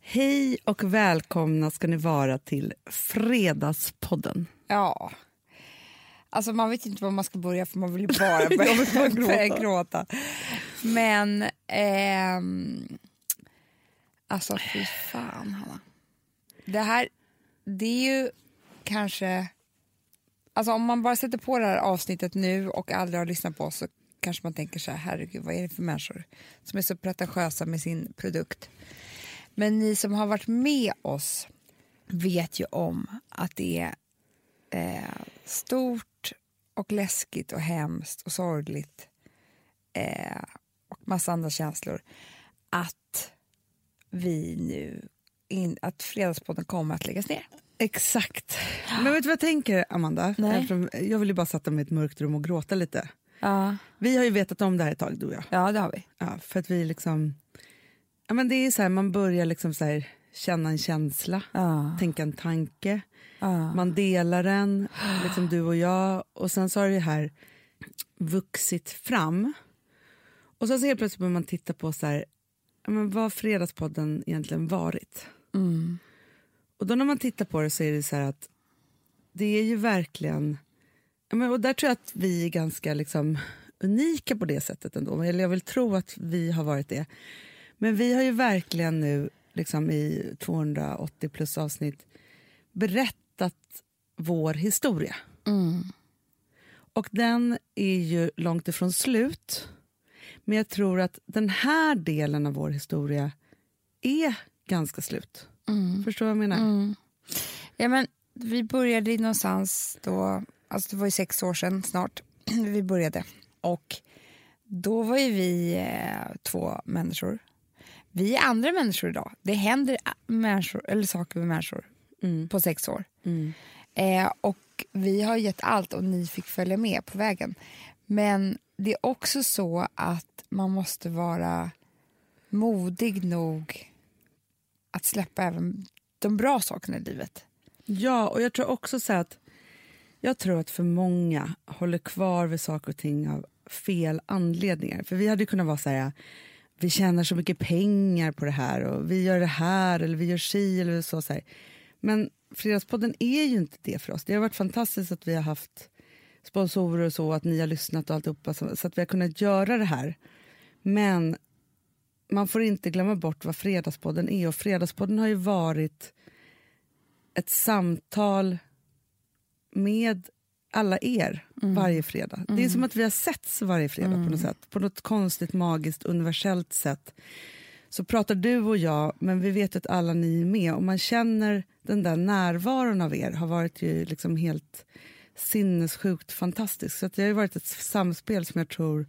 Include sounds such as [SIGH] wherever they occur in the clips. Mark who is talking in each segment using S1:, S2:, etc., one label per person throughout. S1: Hej och välkomna ska ni vara till Fredagspodden.
S2: Ja. Alltså man vet inte var man ska börja för man vill ju [LAUGHS] bara börja, börja gråta. Men, ehm, alltså fy fan Hanna. Det här, det är ju kanske, alltså om man bara sätter på det här avsnittet nu och aldrig har lyssnat på oss så kanske man tänker så här, herregud vad är det för människor som är så pretentiösa med sin produkt. Men ni som har varit med oss vet ju om att det är eh, stort och läskigt och hemskt och sorgligt eh, och massa andra känslor att vi nu in, att Fredagspodden kommer att läggas ner.
S1: Exakt. Men vet du vad jag tänker, Amanda?
S2: Nej.
S1: Eftersom Jag vill ju bara sätta mig i ett mörkt rum och gråta lite.
S2: Ja,
S1: Vi har ju vetat om det här ett tag, du och jag.
S2: ja det har vi.
S1: Ja, för att vi liksom... Ja, men det är så här, man börjar liksom så här, känna en känsla,
S2: Ja.
S1: tänka en tanke.
S2: Ja.
S1: Man delar den, liksom du och jag. Och sen så har det här vuxit fram. Och sen så helt plötsligt börjar man titta på så här, ja, men vad har Fredagspodden egentligen varit.
S2: Mm.
S1: Och då när man tittar på det så är det så här att det är ju verkligen... Ja, men, och där tror jag att vi är ganska liksom, unika på det sättet ändå. Eller jag vill tro att vi har varit det. Men vi har ju verkligen nu liksom, i 280 plus avsnitt berättat vår historia.
S2: Mm.
S1: Och den är ju långt ifrån slut. Men jag tror att den här delen av vår historia är ganska slut.
S2: Mm.
S1: Förstår du vad jag menar?
S2: Mm. Ja, men vi började ju någonstans då, alltså det var ju sex år sedan snart [CLEARS THROAT] vi började. Och då var ju vi eh, två människor. Vi är andra människor idag. Det händer a- människor, eller saker med människor
S1: Mm.
S2: på sex år.
S1: Mm.
S2: Eh, och vi har gett allt och ni fick följa med på vägen. Men det är också så att man måste vara modig nog att släppa även de bra sakerna i livet.
S1: Ja, och jag tror också så här att jag tror att för många håller kvar vid saker och ting av fel anledningar. För vi hade ju kunnat vara så här, vi tjänar så mycket pengar på det här och vi gör det här eller vi gör si eller så. så här. Men Fredagspodden är ju inte det för oss. Det har varit fantastiskt att vi har haft sponsorer och så, att ni har lyssnat och alltihopa, så så att vi har kunnat göra det här. Men man får inte glömma bort vad Fredagspodden är och Fredagspodden har ju varit ett samtal med alla er
S2: Mm.
S1: varje fredag. Det är som att vi har setts varje fredag på något sätt. På något konstigt, magiskt, universellt sätt. Så pratar du och jag, men vi vet att alla ni är med och man känner den där närvaron av er har varit ju liksom helt sinnessjukt fantastisk. Så att det har ju varit ett samspel som jag tror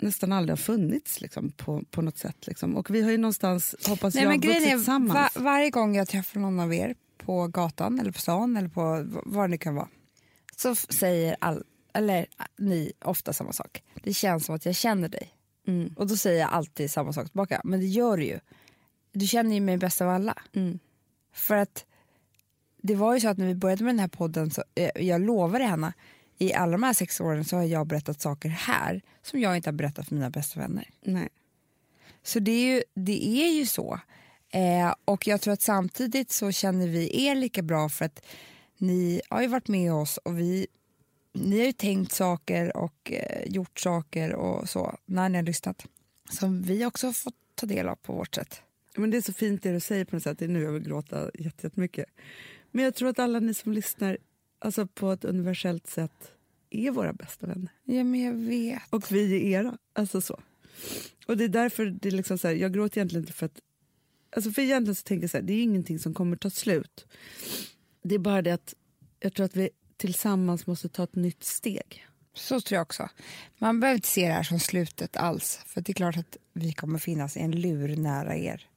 S1: nästan aldrig har funnits liksom, på, på något sätt. Liksom. Och vi har ju någonstans, hoppas
S2: Nej,
S1: jag,
S2: men grejen
S1: vuxit
S2: är,
S1: tillsammans.
S2: va- varje gång jag träffar någon av er på gatan eller på stan eller på v- vad det nu kan vara så f- säger all, eller, ä, ni ofta samma sak. Det känns som att jag känner dig.
S1: Mm.
S2: Och då säger jag alltid samma sak tillbaka. Men det gör du ju. Du känner ju mig bäst av alla.
S1: Mm.
S2: För att det var ju så att när vi började med den här podden så eh, jag lovade Hanna i alla de här sex åren så har jag berättat saker här som jag inte har berättat för mina bästa vänner.
S1: Nej.
S2: Så det är ju, det är ju så. Eh, och jag tror att samtidigt så känner vi er lika bra för att ni har ju varit med oss och vi, ni har ju tänkt saker och eh, gjort saker och så när ni har lyssnat. Som vi också har fått ta del av på vårt sätt.
S1: Men Det är så fint det du säger. på något sätt. Det är nu jag vill gråta jätte- jättemycket. Men jag tror att alla ni som lyssnar alltså på ett universellt sätt är våra bästa vänner.
S2: Ja men jag vet.
S1: Och vi är era. Alltså så. Och det är därför det är liksom så här, jag gråter egentligen inte för att... Alltså för egentligen så tänker jag så här, det är ingenting som kommer ta slut. Det är bara det att jag tror att vi tillsammans måste ta ett nytt steg.
S2: Så tror jag också. Man behöver inte se det här som slutet alls. För det är klart att vi kommer finnas i en lur nära er.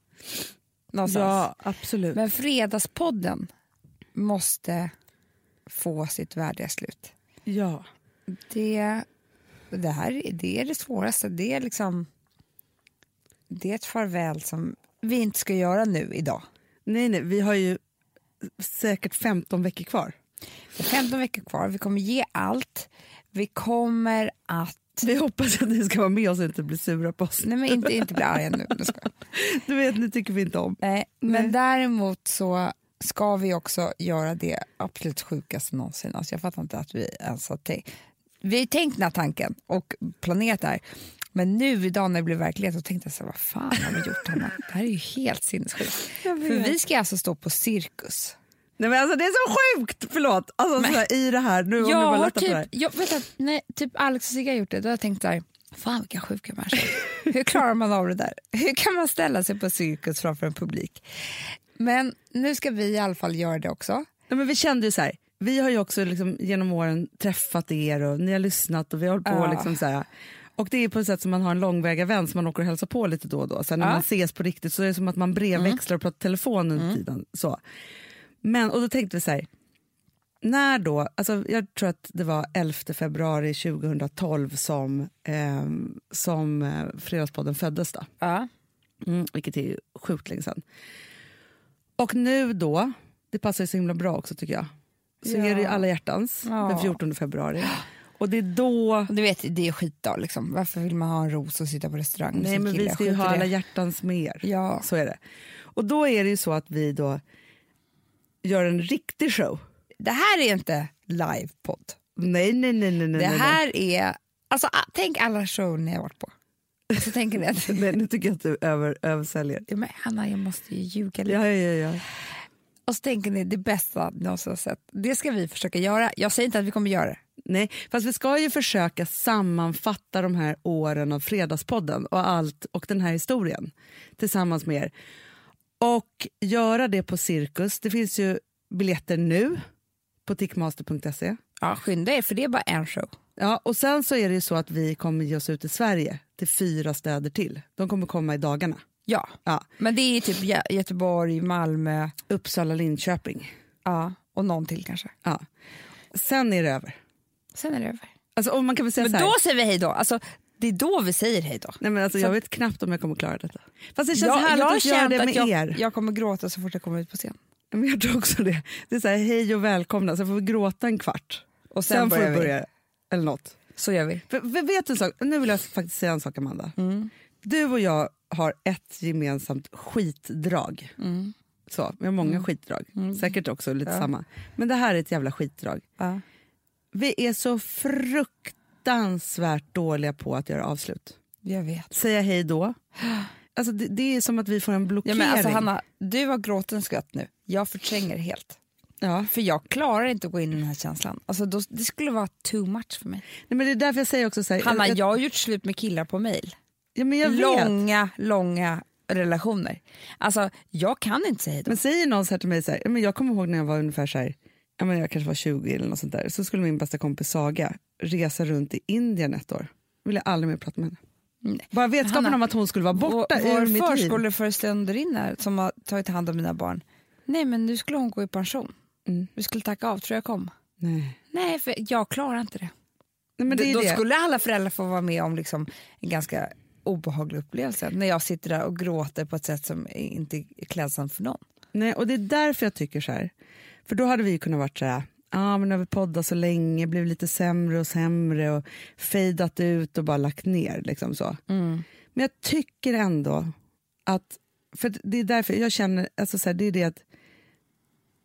S2: Någonstans.
S1: absolut.
S2: Men Fredagspodden måste få sitt värdiga slut.
S1: ja.
S2: Det, det här är- det är det svåraste. Det är, liksom, det är ett farväl som vi inte ska göra nu idag.
S1: Nej, nej, vi har ju säkert 15 veckor kvar.
S2: Det är 15 veckor kvar. Vi kommer ge allt. Vi kommer att
S1: [LAUGHS]
S2: ut.
S1: Vi hoppas att ni ska vara med oss och inte bli sura på oss.
S2: Nej men inte, inte bli arga nu. Jag skojar.
S1: Du vet, ni tycker vi inte om.
S2: Nej, men däremot så ska vi också göra det absolut sjukaste någonsin. Alltså jag fattar inte att vi ens har tänkt. Vi har ju tänkt den här tanken och planerat det här. Men nu idag när det blev verklighet så tänkte jag så här, vad fan har vi gjort Hanna? Det här är ju helt sinnessjukt. För vi ska alltså stå på cirkus.
S1: Nej, men alltså, det är så sjukt! Förlåt. Alltså, så här, I det här, nu om ni bara lättar
S2: typ
S1: på det här.
S2: jag vet att, nej, typ Alex och Sigge har gjort det. Då har jag tänkt så här, fan vilka sjuka
S1: [LAUGHS]
S2: människor. Hur klarar man av det där? Hur kan man ställa sig på cirkus framför en publik? Men nu ska vi i alla fall göra det också.
S1: Nej, men vi kände ju så här, vi har ju också liksom genom åren träffat er och ni har lyssnat och vi har hållit på
S2: Ja.
S1: liksom så här. Och det är på ett sätt som man har en långväga vän som man åker och hälsar på lite då och då. Sen när
S2: Ja. Mm.
S1: man ses på riktigt så är det som att man brevväxlar och pratar telefon under tiden. Så. Men, och då tänkte vi så här, när då, alltså jag tror att det var 11 februari 2012 som, ehm, som eh, Fredagspodden föddes då.
S2: Ja.
S1: Mm, vilket är ju sjukt länge sedan. Och nu då, det passar ju så himla bra också tycker jag, så
S2: Ja.
S1: är det ju alla hjärtans
S2: Ja.
S1: den 14 februari. Och det är då...
S2: Du vet, det är skitdag liksom. Varför vill man ha en ros och sitta på restaurang med
S1: Nej
S2: sin
S1: men
S2: kille?
S1: vi ska ju
S2: Skit i
S1: ha alla
S2: det.
S1: hjärtans med er.
S2: Ja.
S1: Så är det. Och då är det ju så att vi då gör en riktig show.
S2: Det här är inte livepodd.
S1: Nej, nej, nej, nej, nej.
S2: Det
S1: nej,
S2: här är... Alltså, a- tänk alla shower ni har varit på. Så tänker
S1: [LAUGHS]
S2: ni att
S1: nej. Nej, nu tycker jag att du över, översäljer.
S2: Ja, men Hanna, jag måste ju ljuga lite.
S1: Ja, ja, ja. ja.
S2: Och så tänker ni det bästa ni någonsin har sett. Det ska vi försöka göra. Jag säger inte att vi kommer göra det.
S1: Nej, fast vi ska ju försöka sammanfatta de här åren av Fredagspodden och allt och den här historien tillsammans med er. Och göra det på Cirkus. Det finns ju biljetter nu på tickmaster.se.
S2: Ja, skynda er, för det är bara en show.
S1: Ja, och sen så är det ju så att vi kommer ge oss ut i Sverige till fyra städer till. De kommer komma i dagarna.
S2: Ja,
S1: Ja,
S2: men det är typ Gö- Göteborg, Malmö
S1: Uppsala, Linköping.
S2: ja, och någon till kanske.
S1: Ja. Sen är det över.
S2: Sen är det över.
S1: Alltså, och man kan väl säga
S2: Men
S1: så här,
S2: då säger vi hej då. Alltså, det är då vi säger hej då.
S1: nej men alltså, jag vet knappt om jag kommer klara detta. Fast det känns härligt
S2: har
S1: att göra
S2: känt
S1: det med
S2: jag,
S1: er.
S2: Jag kommer gråta så fort jag kommer ut på scen.
S1: Men jag tror också det. Det är så här, hej och välkomna, sen får vi gråta en kvart.
S2: Och
S1: Sen, får
S2: börjar
S1: vi börja. Eller något.
S2: Så gör vi.
S1: För, för vet du en sak? Nu vill jag faktiskt säga en sak, Amanda.
S2: Mm.
S1: Du och jag har ett gemensamt skitdrag.
S2: Mm.
S1: Så, vi har många skitdrag. Säkert också lite samma. Men det här är ett jävla skitdrag.
S2: Ja.
S1: Vi är så fruktansvärt dåliga på att göra avslut.
S2: Jag vet.
S1: Säga hej då. Alltså, det, det är som att vi får en
S2: Ja,
S1: blockering.
S2: men alltså, Hanna, du har gråten skratt nu. Jag förtränger helt.
S1: Ja.
S2: För jag klarar inte att gå in i den här känslan. Alltså, då, det skulle vara too much för mig.
S1: Nej, men det är därför jag säger också så här,
S2: Hanna,
S1: jag,
S2: jag har gjort slut med killar på mejl.
S1: ja, men jag vet.
S2: Långa, långa relationer. Alltså, jag kan inte säga hej då.
S1: Men säger någon så här till mig, så här, ja, men jag kommer ihåg när jag var ungefär så här, ja, men jag kanske var 20 eller något sånt där, så skulle min bästa kompis Saga resa runt i Indien ett år. Vill jag aldrig mer prata med henne.
S2: Nej.
S1: Bara vetskapen
S2: Hanna,
S1: om att hon skulle vara borta
S2: vår
S1: ur mitt liv.
S2: förskoleföreståndarinna som har tagit hand om mina barn. Nej, men nu skulle hon gå i pension.
S1: Mm.
S2: Vi skulle tacka av, tror jag kom.
S1: Nej.
S2: Nej, för jag klarar inte det.
S1: Nej, men det är
S2: då
S1: det.
S2: skulle alla föräldrar få vara med om liksom en ganska obehaglig upplevelse. När jag sitter där och gråter på ett sätt som inte är klädsamt för någon.
S1: Nej, och det är därför jag tycker så här. För då hade vi ju kunnat varit så här, ah, men nu har vi poddat så länge, blivit lite sämre och sämre och fejdat ut och bara lagt ner. Liksom så.
S2: Mm.
S1: Men jag tycker ändå att, för att det är därför jag känner, alltså så här, det är det att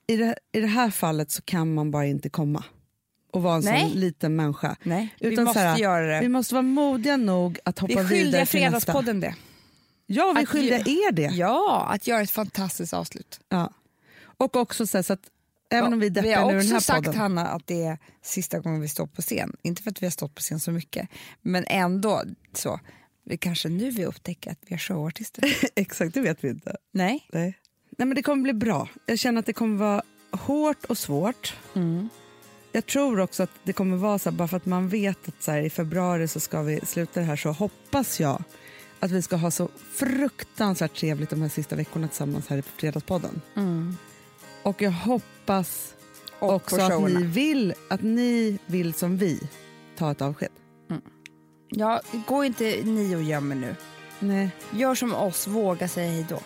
S1: i det, i det här fallet så kan man bara inte komma och vara en
S2: Nej.
S1: sån liten människa.
S2: Nej, vi
S1: Utan
S2: måste
S1: så här,
S2: göra det.
S1: Vi måste vara modiga nog att
S2: Vi
S1: hoppa vidare
S2: skyller
S1: till nästa.
S2: Fredagspodden det.
S1: Ja, vi
S2: att
S1: skyller er det.
S2: Ja, att göra ett fantastiskt avslut.
S1: Ja. Och också så, här, så att även om vi
S2: Ja,
S1: deppar
S2: har
S1: nu i
S2: också
S1: den här
S2: sagt
S1: podden.
S2: Hanna att det är sista gången vi står på scen. Inte för att vi har stått på scen så mycket, men ändå så. Vi kanske nu vi upptäcker att vi
S1: [LAUGHS]
S2: är showartister.
S1: [LAUGHS] Exakt, det vet vi inte.
S2: Nej.
S1: Nej. Nej, men det kommer bli bra. Jag känner att det kommer vara hårt och svårt.
S2: Mm.
S1: Jag tror också att det kommer vara så här, bara för att man vet att så här, i februari så ska vi sluta det här så hoppas jag att vi ska ha så fruktansvärt trevligt de här sista veckorna tillsammans här i Fredagspodden. Och jag hoppas
S2: Mm. Och
S1: också
S2: på
S1: att
S2: showerna.
S1: ni, vill, att ni vill som vi ta ett avsked.
S2: Ja, gå inte ni och gömmer nu.
S1: Nej.
S2: Gör som oss, våga säga hej då.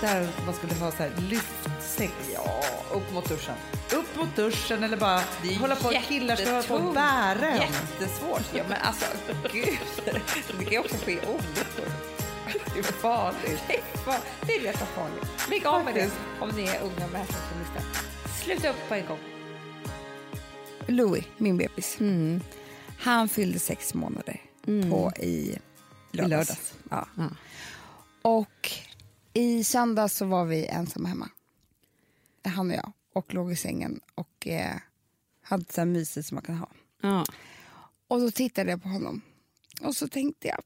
S1: där att man skulle ha så här lyftsex.
S3: Ja, upp mot duschen.
S1: Upp mot duschen eller bara
S3: Det är
S1: hålla på killar ska hålla på och bära en.
S3: Jättesvårt. Ja, men alltså gud. Det kan ju också ske olyckor. Det är farligt. Det är, far... det är rätt så farligt. Lägg av med det om ni är unga människor som lyssnar. Sluta upp på en gång.
S2: Louis, min bebis,
S1: Mm.
S2: han fyllde sex månader på i lördags.
S1: lördags.
S2: Ja.
S1: Ja.
S2: Och i söndags så var vi ensamma hemma, han och jag, och låg i sängen och eh, hade så här mysigt som man kan ha.
S1: Ja.
S2: Och så tittade jag på honom och så tänkte jag,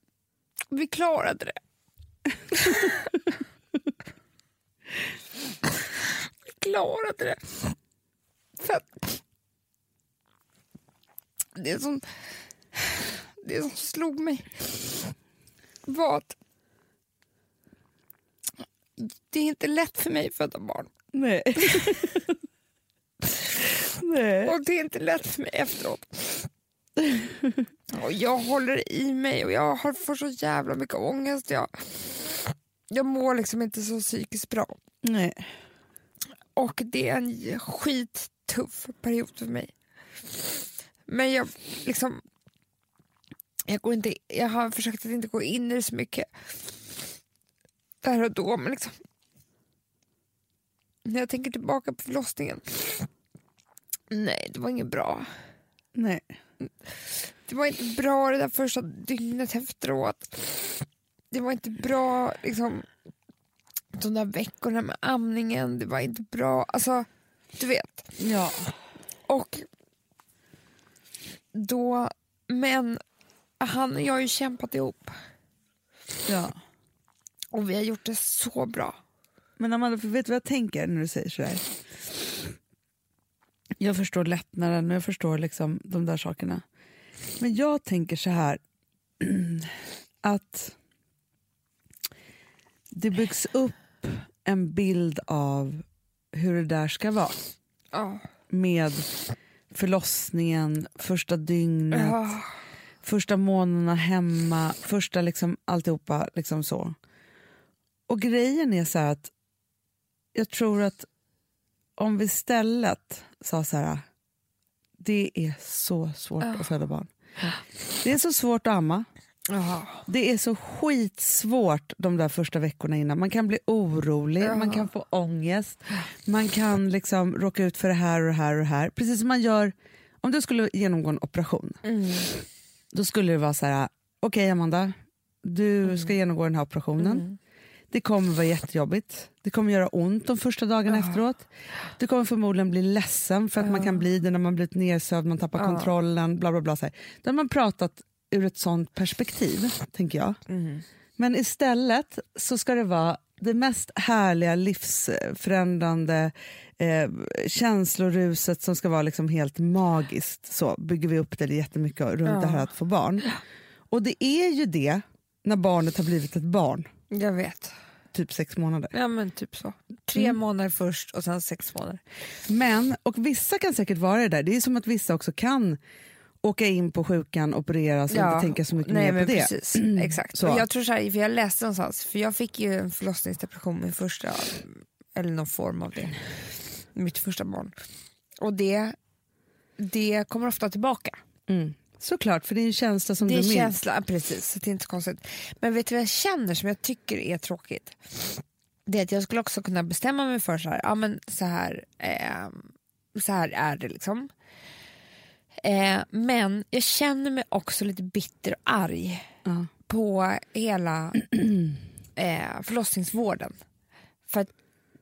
S2: vi klarade det. vi klarade det. För att det som, det som slog mig var att det är inte lätt för mig att föda barn.
S1: [LAUGHS] Nej. Nej.
S2: Och det är inte lätt för mig efteråt. Och jag håller i mig och jag har, får så jävla mycket ångest. Jag, jag mår liksom inte så psykiskt bra.
S1: Nej.
S2: Och det är en skittuff period för mig. Men jag liksom... Jag, går inte, jag har försökt att inte gå in i det så mycket där och då, men liksom... När jag tänker tillbaka på förlossningen... Nej, det var inget bra.
S1: Nej.
S2: Det var inte bra det där första dygnet efteråt. Det var inte bra liksom, de där veckorna med amningen. Det var inte bra. Alltså, du vet.
S1: Ja.
S2: Och då... Men han och jag har ju kämpat ihop
S1: ja.
S2: och vi har gjort det så bra.
S1: Men Amanda, för vet du vad jag tänker när du säger sådär? Jag förstår lättnaden och jag förstår liksom de där sakerna. Men jag tänker så här [CLEARS THROAT] att det byggs upp en bild av hur det där ska vara
S2: Ja.
S1: med förlossningen, första dygnet,
S2: Ja.
S1: första månaderna hemma, första liksom alltihopa liksom så. Och grejen är så här att jag tror att om vi istället sa så här, det är så svårt att föda barn. Det är så svårt att amma.
S2: Ja.
S1: Det är så skitsvårt de där första veckorna innan. Man kan bli orolig, man kan få ångest, man kan liksom råka ut för det här och det här och det här. Precis som man gör om du skulle genomgå en operation. Då skulle det vara så här, okej Amanda, du ska genomgå den här operationen. Det kommer vara jättejobbigt. Det kommer göra ont de första dagarna efteråt. Du kommer förmodligen bli ledsen för att man kan bli det när man blivit nedsövd, man tappar kontrollen, bla bla bla. Så här. Då har man pratat ur ett sånt perspektiv, tänker jag. Men istället så ska det vara det mest härliga, livsförändrande eh, känsloruset som ska vara liksom helt magiskt. Så bygger vi upp det jättemycket runt det här att få barn. Och det är ju det när barnet har blivit ett barn,
S2: Jag vet.
S1: typ sex månader.
S2: Ja, men typ så. Tre månader först och sen sex månader.
S1: Men, och vissa kan säkert vara det där. Det är som att vissa också kan åka in på sjukan, opereras och inte tänka så mycket
S2: Nej,
S1: mer
S2: men
S1: på det. [CLEARS THROAT]
S2: Precis, exakt.
S1: Så.
S2: Och jag tror så här, för jag läste någonstans, för jag fick ju en förlossningsdepression min första, eller någon form av det, mitt första barn. Och det, det kommer ofta tillbaka.
S1: Mm. Såklart, för det är en känsla som
S2: Det
S1: du
S2: är
S1: minns.
S2: känsla, ja, precis, så det är inte så konstigt. Men vet du vad jag känner som jag tycker är tråkigt? Det är att jag skulle också kunna bestämma mig för så här, ja men så här, ehm, så här är det liksom. Eh, men jag känner mig också lite bitter och arg
S1: Ja.
S2: på hela [CLEARS THROAT] eh, förlossningsvården. För att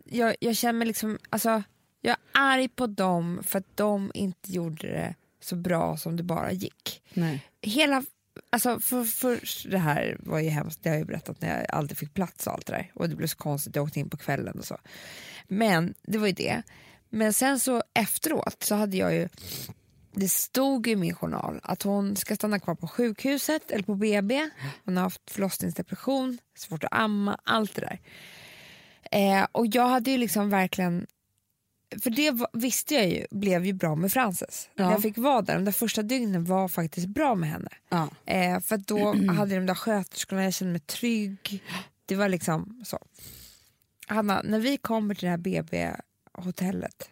S2: jag, jag känner mig liksom, alltså jag är arg på dem för att de inte gjorde det så bra som det bara gick
S1: Nej.
S2: hela... Alltså för, för det här var ju hemskt, det har jag ju berättat när jag aldrig fick plats och allt det där. Och det blev så konstigt, jag åkte in på kvällen och så. Men det var ju det. Men sen så efteråt så hade jag ju, det stod i min journal att hon ska stanna kvar på sjukhuset eller på BB. Hon har haft förlossningsdepression, svårt att amma, allt det där. Eh, och jag hade ju liksom verkligen för det var, visste jag ju blev ju bra med Frances.
S1: Ja.
S2: När jag fick vara där, de där första dygnen var faktiskt bra med henne.
S1: Ja.
S2: Eh, för att då hade de där sköterskorna, jag kände mig trygg. Det var liksom så. Hanna, när vi kommer till det här BB-hotellet,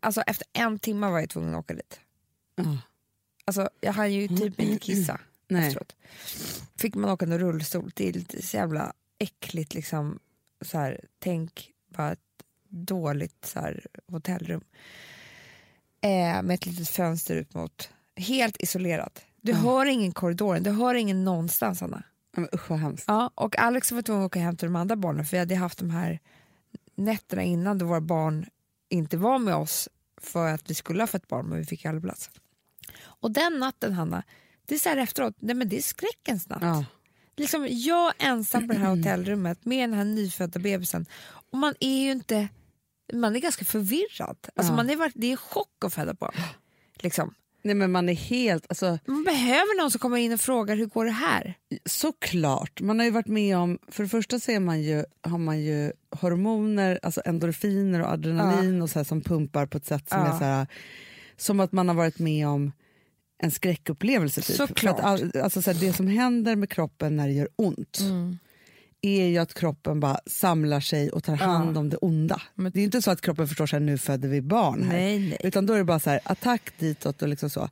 S2: alltså efter en timme var jag tvungen att åka dit.
S1: Ja.
S2: Alltså, jag hann ju typ inte kissa
S1: Nej.
S2: efteråt. Fick man åka med rullstol, det är lite så jävla äckligt liksom. Så här, tänk bara ett dåligt så här, hotellrum. Eh, med ett litet fönster ut mot, helt isolerat. Du hör ingen i korridoren, du hör ingen någonstans Anna.
S1: Ja, men Usch vad hemskt.
S2: Ja, och Alex var tvungen att åka hem till de andra barnen för vi hade haft de här nätterna innan då våra barn inte var med oss för att vi skulle ha fött barn men vi fick aldrig plats. Och den natten Hanna, det är så här efteråt, nej men det är skräckens natt.
S1: Ja.
S2: Liksom jag ensam på det [CLEARS THROAT] här hotellrummet med den här nyfödda bebisen och man är ju inte, man är ganska förvirrad. Alltså
S1: Ja.
S2: man är, verk- det är chock att föda barn. Liksom.
S1: Nej men man är helt, alltså
S2: Man behöver någon som kommer in och frågar hur går det här?
S1: såklart. Man har ju varit med om, för det första så är man ju, har man ju hormoner, alltså endorfiner och adrenalin och så här som pumpar på ett sätt som
S2: Ja.
S1: är så här, som att man har varit med om en skräckupplevelse. Typ.
S2: Såklart.
S1: För att all, alltså så här, det som händer med kroppen när det gör ont
S2: Mm.
S1: är ju att kroppen bara samlar sig och tar hand om det onda. det är ju inte så att kroppen förstår sig nu föder vi barn här.
S2: Nej, nej.
S1: Utan då är det bara så här, attack ditåt och liksom så.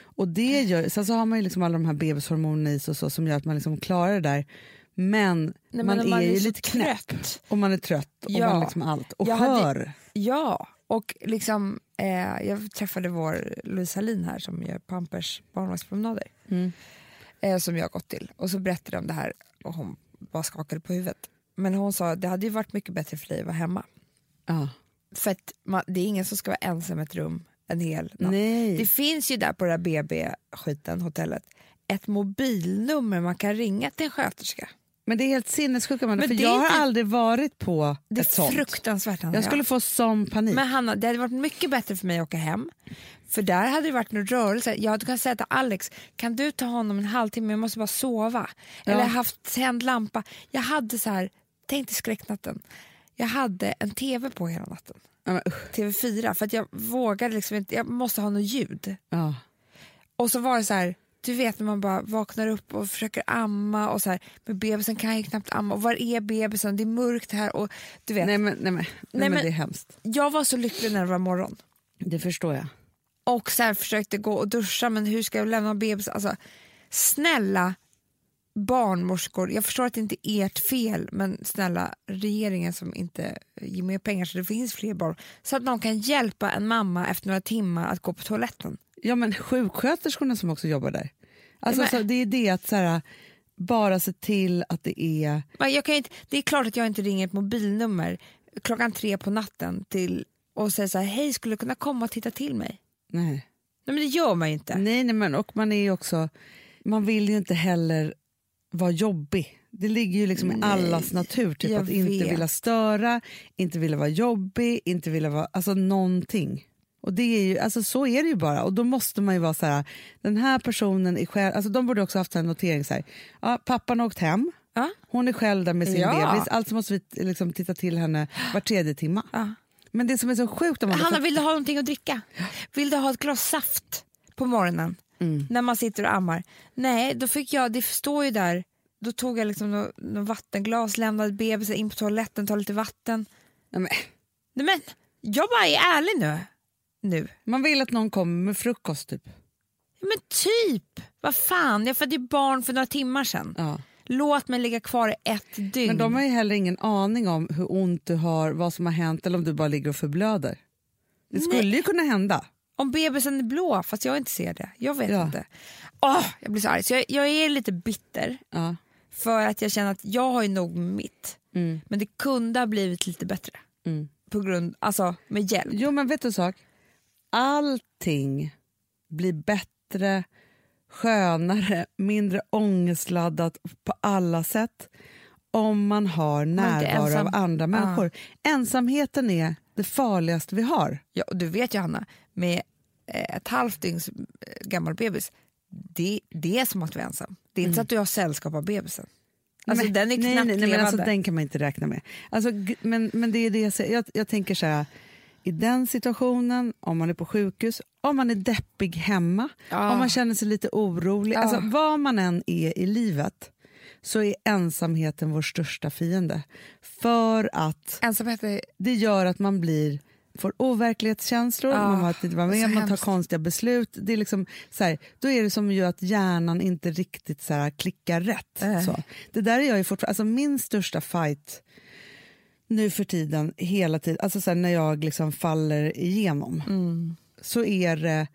S1: Och det gör, sen så har man ju liksom alla de här bebishormonerna i sig och så som gör att man liksom klarar det där. Men,
S2: Nej, men
S1: man,
S2: när
S1: är, ju
S2: så
S1: lite knäpp
S2: trött.
S1: och man är trött och
S2: Ja.
S1: man liksom allt och
S2: Jag hade-
S1: skör.
S2: Ja, och liksom, eh, jag träffade vår Louise Hallin här som gör Pampers barnvagnspromenader.
S1: Mm.
S2: Eh, som jag har gått till. Och så berättade jag om det här och hon bara skakade på huvudet. Men hon sa att det hade ju varit mycket bättre för dig att vara hemma.
S1: Ja.
S2: För att man, det är ingen som ska vara ensam i ett rum en hel natt.
S1: Nej.
S2: Det finns ju där på det där BB-skiten, hotellet, ett mobilnummer man kan ringa till en sköterska.
S1: Men det är helt sinnessjukt Amanda,
S2: Men
S1: för
S2: det är
S1: jag har
S2: inte-
S1: aldrig varit på
S2: Det är
S1: ett sånt.
S2: fruktansvärt. Hanna.
S1: Jag skulle få sån panik.
S2: Men Hanna, det hade varit mycket bättre för mig att åka hem. För där hade det varit någon rörelse. Jag hade kunnat säga till Alex, kan du ta honom en halvtimme, jag måste bara sova. Eller haft tänd lampa. Jag hade så här, tänk dig skräcknatten. Jag hade en TV på hela natten.
S1: Ja, men, usch.
S2: TV4, för att jag vågade liksom inte, jag måste ha något ljud.
S1: ja.
S2: Och så var det så här, du vet när man bara vaknar upp och försöker amma och så här, men bebisen kan ju knappt amma. Och var är bebisen? Det är mörkt här och du vet.
S1: Nej, men, nej, men, nej, men,
S2: men-
S1: det är hemskt.
S2: Jag var så lycklig när det var morgon.
S1: Det förstår jag.
S2: och så här försökte gå och duscha men hur ska jag lämna bebis? Alltså, snälla barnmorskor, jag förstår att det inte är ert fel men snälla regeringen som inte ger mer pengar så det finns fler barn så att någon kan hjälpa en mamma efter några timmar att gå på toaletten.
S1: Ja men sjuksköterskorna som också jobbar där. Alltså,
S2: Men-
S1: så, det är det att så här, bara se till att det är
S2: Men jag kan ju inte, det är klart att jag inte ringer ett mobilnummer klockan tre på natten till och säger så här, hej skulle du kunna komma och titta till mig?
S1: Nej.
S2: Nej men det gör man ju inte.
S1: Nej, nej, men och man är ju också, man vill ju inte heller vara jobbig. Det ligger ju liksom i allas natur, typ
S2: jag
S1: att inte
S2: vet.
S1: vilja störa, inte vilja vara jobbig, inte vilja vara, alltså någonting. Och det är ju, alltså så är det ju bara. Och då måste man ju vara så här, den här personen är själv, alltså de borde också haft en notering så här, ja, pappan har åkt hem,
S2: Ja.
S1: hon är själv där med sin
S2: Ja.
S1: bebis, alltså måste vi liksom titta till henne var tredje timma.
S2: Ja.
S1: Men Mm, det som är så sjukt om man
S2: Hanna, vill du ha någonting att dricka? Vill du ha ett glas saft på morgonen
S1: Mm.
S2: när man sitter och ammar? Nej, då fick jag, det står ju där, då tog jag liksom något nå vattenglas, lämnade bebisen in på toaletten, tar lite vatten.
S1: Nej, men,
S2: Nej men, jag bara är ärlig nu. Nu.
S1: man vill att någon kommer med frukost typ.
S2: Ja, Men typ, vad fan, jag födde ju barn för några timmar sedan.
S1: Ja.
S2: Låt mig ligga kvar i ett dygn.
S1: Men de har ju heller ingen aning om hur ont du har, vad som har hänt eller om du bara ligger och förblöder. Det skulle ju kunna hända.
S2: Om bebisen är blå, fast jag inte ser det. Jag vet
S1: Ja.
S2: inte. Åh, jag blir så arg. Så jag, jag är lite bitter.
S1: Ja.
S2: För att jag känner att jag har ju nog med mitt.
S1: Mm.
S2: Men det kunde ha blivit lite bättre.
S1: Mm.
S2: På grund, alltså med hjälp.
S1: Jo men vet du en sak? Allting blir bättre, skönare, mindre ångestladdat på alla sätt om man har
S2: är
S1: närvaro
S2: ensam.
S1: av andra människor. Ensamheten är det farligaste vi har.
S2: Ja, och du vet Johanna, med eh, ett halvt dygns eh, gammal bebis, det, det är som att vara ensam. Det är inte så att du har sällskap av bebisen. Alltså
S1: Men-
S2: den är knappt
S1: Mm. nej, nej, nej, men alltså,
S2: levande.
S1: Den kan man inte räkna med. Alltså, g- men, men det är det jag säger. Jag, jag tänker så här, i den situationen, om man är på sjukhus, om man är deppig hemma,
S2: Ja. Ah.
S1: om man känner sig lite orolig, alltså vad man än är i livet så är ensamheten vår största fiende. För att
S2: Ensamhet är...
S1: det gör att man blir får overklighetskänslor,
S2: Ah,
S1: man har ett litet vara
S2: så
S1: med, man tar
S2: hemskt.
S1: konstiga beslut. Det är liksom, så här, då är det som ju att hjärnan inte riktigt så här, klickar rätt.
S2: Nej.
S1: Så. Det där är jag ju fortfarande, alltså min största fight nu för tiden, hela tiden, alltså så här, när jag liksom faller igenom,
S2: Mm.
S1: så är det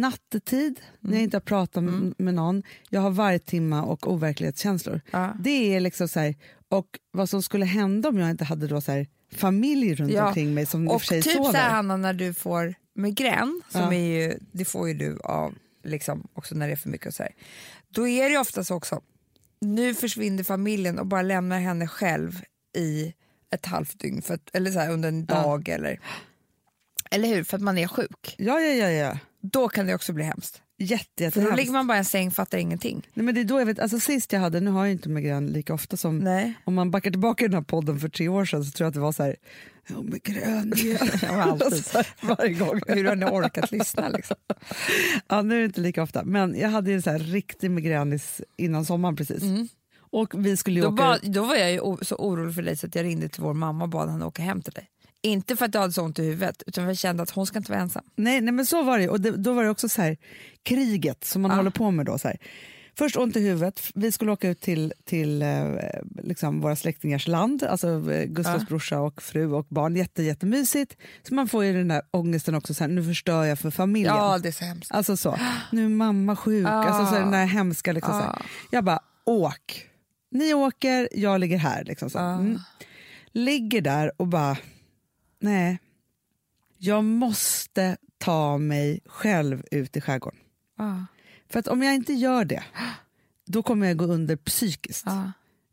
S1: nattetid, när jag inte har pratat med,
S2: Mm.
S1: med någon, jag har vargtimma och overklighetskänslor.
S2: Ja.
S1: Det är liksom så här, och vad som skulle hända om jag inte hade då så här, familj runt
S2: Ja,
S1: omkring mig som i och
S2: Och
S1: för sig
S2: typ så
S1: sover.
S2: här, Hanna, när du får migrän, som
S1: Ja.
S2: är ju, det får ju du av liksom, också när det är för mycket och så här. Då är det ju oftast också, nu försvinner familjen och bara lämnar henne själv i ett halvt dygn, för att, eller så här, under en dag eller, eller hur, för att man är sjuk.
S1: Ja, ja, ja. ja.
S2: Då kan det också bli hemskt.
S1: Jätte,
S2: För då ligger
S1: jättehemskt.
S2: man bara i en säng fattar ingenting.
S1: Nej, men det är då jag vet, alltså, sist jag hade, nu har jag inte migrän lika ofta som [LAUGHS]
S2: Nej.
S1: om man backar tillbaka i den här podden för tre år sedan så tror jag att det var så här, jag har migrän igen."
S2: [LAUGHS] Ja, alltid.
S1: Alltså, varje gång.
S2: Hur har ni orkat lyssna liksom?
S1: [LAUGHS] Ja, nu är det inte lika ofta, men jag hade ju en så här riktig migränis innan sommaren precis. Och vi skulle ju
S2: Mm. Då,
S1: åka
S2: bad, då var jag ju o- så orolig för dig så att jag ringde till vår mamma och bad henne åka hem till dig. Inte för att jag hade så ont i huvudet utan för att jag kände att hon ska inte vara ensam.
S1: Nej, nej men så var det ju. och det, då var det också så här kriget som man håller på med då så här. Först ont i huvudet, F- vi skulle åka ut till, till eh, liksom våra släktingars land, alltså eh, Gustavs brorsa och fru och barn, Jätte, jättemysigt. Så man får ju den där ångesten också, så här, nu förstör jag för familjen.
S2: Ja det är så hemskt.
S1: Alltså så, nu är mamma sjuk, alltså så här, den där hemska liksom så här. Jag bara, åk. Ni åker, jag ligger här liksom så. Mm. Ligger där och bara, nej, jag måste ta mig själv ut i skärgården.
S2: Ja,
S1: För att om jag inte gör det, då kommer jag gå under psykiskt.
S2: ja.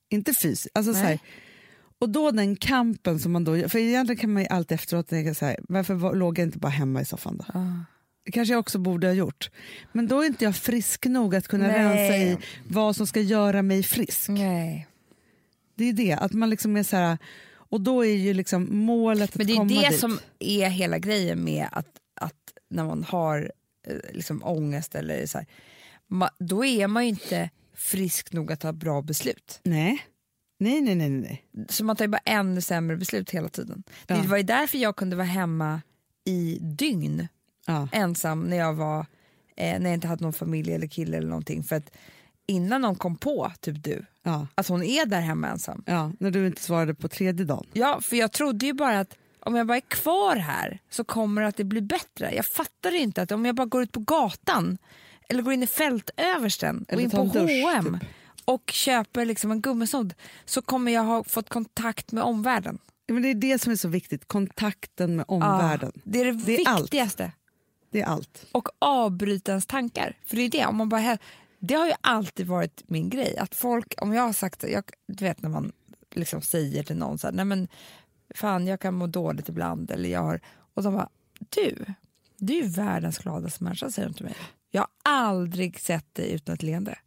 S1: Inte fysiskt. Alltså, så
S2: Nej.
S1: här. Och då den kampen som man då gör, för egentligen kan man ju alltid efteråt tänka så här, varför var, låg jag inte bara hemma i soffan då? Det kanske jag också borde ha gjort. Men då är inte jag frisk nog att kunna
S2: Nej. Mm.
S1: rensa i vad som ska göra mig frisk.
S2: Nej.
S1: Det är det, att man liksom är så här, och då är ju liksom målet
S2: Men det
S1: att komma
S2: är det
S1: dit.
S2: som är hela grejen med att, att när man har eh, liksom ångest eller så här, ma, då är man ju inte frisk nog att ta bra beslut.
S1: Nej. Nej, nej, nej, nej, nej.
S2: Så man tar ju bara ännu sämre beslut hela tiden.
S1: Ja.
S2: Det var ju därför jag kunde vara hemma i dygn
S1: Ja.
S2: ensam när jag var eh, när jag inte hade någon familj eller kille eller någonting. För att innan någon kom på, typ du,
S1: Ja.
S2: att hon är där hemma ensam.
S1: ja, när du inte svarade på tredje dagen.
S2: Ja, för jag trodde ju bara att om jag bara är kvar här så kommer det att det blir bättre. Jag fattade ju inte att om jag bara går ut på gatan eller går in i fältöversten och
S1: Eller
S2: in
S1: tar
S2: på
S1: en dusch, typ.
S2: H&M och köper liksom en gummisnodd så kommer jag ha fått kontakt med omvärlden.
S1: Ja, Men det är det som är så viktigt, kontakten med
S2: Ja,
S1: omvärlden.
S2: det är det,
S1: Det är allt.
S2: viktigaste.
S1: Det är allt.
S2: och avbryta ens tankar. För det är det, om man bara, hä- det har ju alltid varit min grej. Att folk, om jag har sagt, jag, du vet när man liksom säger till någon så här, nej men fan jag kan må dåligt ibland eller jag har, och de bara, du, du är ju världens gladaste människa säger de till mig. Jag har aldrig sett dig utan ett leende.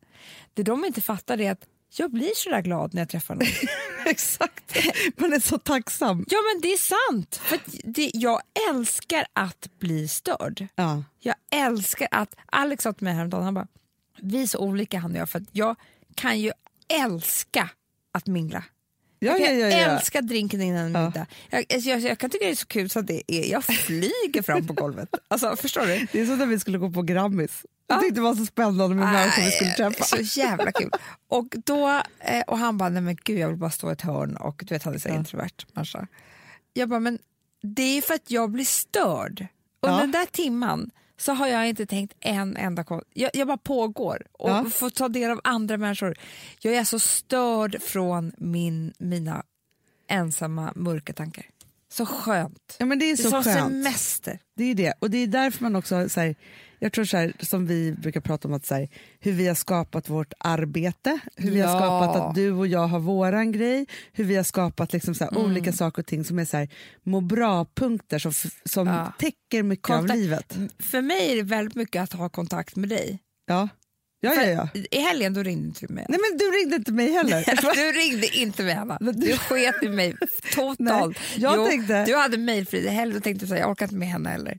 S2: Det de inte fattar är att jag blir sådär glad när jag träffar någon.
S1: [LAUGHS] Exakt. Man är så tacksam.
S2: ja men det är sant! För att det, jag älskar att bli störd.
S1: Ja.
S2: Jag älskar att Alex sa till mig häromdagen, han bara, vi är så olika han och jag för att jag kan ju älska att mingla.
S1: Ja,
S2: Jag
S1: ja, ja, ja.
S2: älskar drinken innan en
S1: Ja.
S2: middag. Jag, alltså, jag, jag kan tycka det är så kul så att det är, jag flyger fram på golvet. Alltså, förstår du?
S1: Det är som när vi skulle gå på Grammis. Jag tyckte det var så spännande med människor vi skulle träffa.
S2: Så
S1: [LAUGHS]
S2: jävla kul. Och, då, eh, och han bara, nej men gud jag vill bara stå i ett hörn och du vet han är så här introvert människa. Jag bara, men det är för att jag blir störd. Under
S1: Ja.
S2: den där timman så har jag inte tänkt en enda kon- jag, jag bara pågår och
S1: Ja.
S2: får ta del av andra människor. Jag är så störd från min, mina ensamma mörka tankar. Så skönt.
S1: Ja, men det är
S2: Det
S1: så
S2: är som
S1: skönt.
S2: semester.
S1: Det är det. Och det är därför man också, har så här, jag tror så här, som vi brukar prata om, att så här, hur vi har skapat vårt arbete, hur vi
S2: Ja.
S1: har skapat att du och jag har våran grej, hur vi har skapat liksom så här,
S2: Mm.
S1: olika saker och ting som är så här, må bra-punkter som, f- som
S2: Ja.
S1: täcker mycket
S2: Kontakt-
S1: av livet.
S2: För mig är det väldigt mycket att ha kontakt med dig.
S1: Ja, ja, ja. ja.
S2: I helgen då ringde inte du mig.
S1: Nej, men du ringde inte mig
S2: [LAUGHS]
S1: heller.
S2: Alltså, Du ringde inte mig Anna.
S1: Men du-
S2: Du sket i mig totalt.
S1: Nej, jag tänkte-
S2: Du hade mejlfrid i helgen och tänkte såhär, jag orkar inte med henne heller.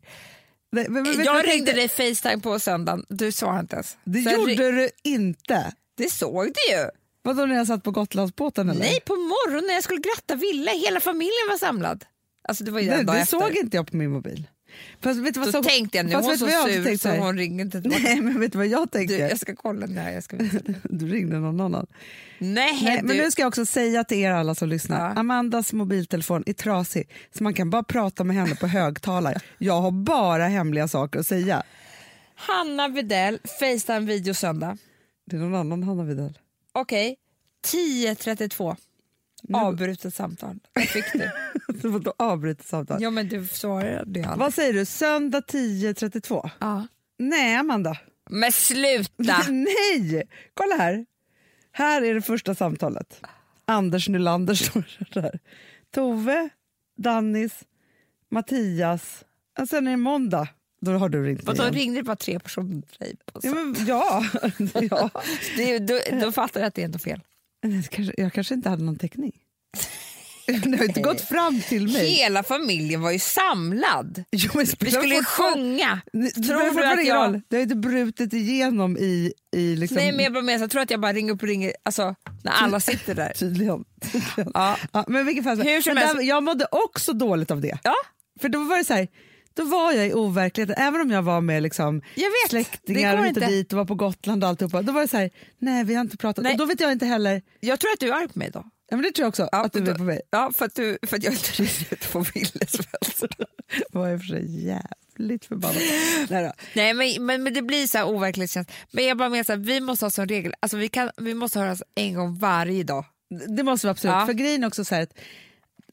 S1: Nej, men, men, vet du,
S2: jag
S1: tänkte-
S2: ringde dig Facetime på söndagen, du svarade inte ens.
S1: Det
S2: Sen
S1: gjorde
S2: ri-
S1: du inte.
S2: det såg du ju.
S1: Vadå när jag satt på Gotlandsbåten eller?
S2: Nej, på morgonen när jag skulle gratta Ville, hela familjen var samlad. Alltså det var ju
S1: Nej,
S2: en dag
S1: det
S2: efter.
S1: såg inte jag på min mobil. Fast vet du vad
S2: Då
S1: som-
S2: tänkte jag, nu är
S1: fast
S2: hon
S1: vet du
S2: så
S1: vad jag
S2: sur
S1: tänkte
S2: så
S1: här?
S2: hon ringde inte tillbaka.
S1: [LAUGHS] Nej men vet du vad jag tänkte?
S2: Du, jag ska kolla när jag ska visa dig.
S1: [LAUGHS] Du ringde någon annan.
S2: Nej,
S1: Nej,
S2: du.
S1: men nu ska jag också säga till er alla som lyssnar,
S2: Ja.
S1: Amandas mobiltelefon är trasig så man kan bara prata med henne på
S2: [LAUGHS]
S1: högtalare. Jag har bara hemliga saker att säga.
S2: Hanna Widell, Facetime-video söndag.
S1: Det är någon annan Hanna Widell. [LAUGHS]
S2: Okej, 10.32. Avbrutet samtal. Vad fick du?
S1: Så får du avbryta samtalet.
S2: [LAUGHS] ja, men du svarade ju aldrig.
S1: Vad säger du, söndag 10.32?
S2: Ja.
S1: Nej Amanda,
S2: Men [LAUGHS] sluta!
S1: [LAUGHS] nej! Kolla här. Här är det första samtalet. Anders Nylander [LAUGHS] står där. Tove, Dannis, Mattias. Och sen är det måndag. Då har du ringt mig
S2: Vadå,
S1: igen.
S2: ringde det bara tre personer till dig? På
S1: Ja, men, ja. [LAUGHS] ja.
S2: det, då, då fattar jag att det är något fel.
S1: Men det kanske- Jag kanske inte hade någon täckning. [LAUGHS] Det har inte gått fram till mig.
S2: Hela familjen var ju samlad.
S1: Jo, men
S2: Vi skulle ju sjunga.
S1: Tror du att jag... Roll. Det har inte brutit igenom i, i liksom...
S2: Nej, men jag bara menar, så jag tror att jag bara ringer upp och ringer alltså, när alla sitter där.
S1: Tydligen. [LAUGHS] tydligen.
S2: Ja.
S1: Ja, men vilken fall,
S2: Hur som
S1: men
S2: helst-
S1: där, jag mådde också dåligt av det.
S2: Ja,
S1: För då var det så här, då var jag i overkligheten, även om jag var med liksom,
S2: jag vet.
S1: släktingar och
S2: det går
S1: hit och
S2: inte.
S1: dit och var på Gotland och alltihopa. Då var det så här, nej vi har inte pratat.
S2: Nej.
S1: Och då vet jag inte heller,
S2: Jag tror att du är arg på mig då.
S1: ja, men det tror jag också,
S2: Ja,
S1: att du
S2: då-
S1: är på [LAUGHS] mig.
S2: Ja, för att, du, för att jag inte [LAUGHS] ringde ut på Willes födelsedag.
S1: Var jag för sig jävligt förbannad. Nej då.
S2: Nej, men, men, men det blir så här overklighetskänsla. Men jag bara menar så här, vi måste ha som regel, alltså vi, kan, vi måste höras en gång varje dag.
S1: Det måste vi absolut.
S2: Ja.
S1: För grejen är också så här att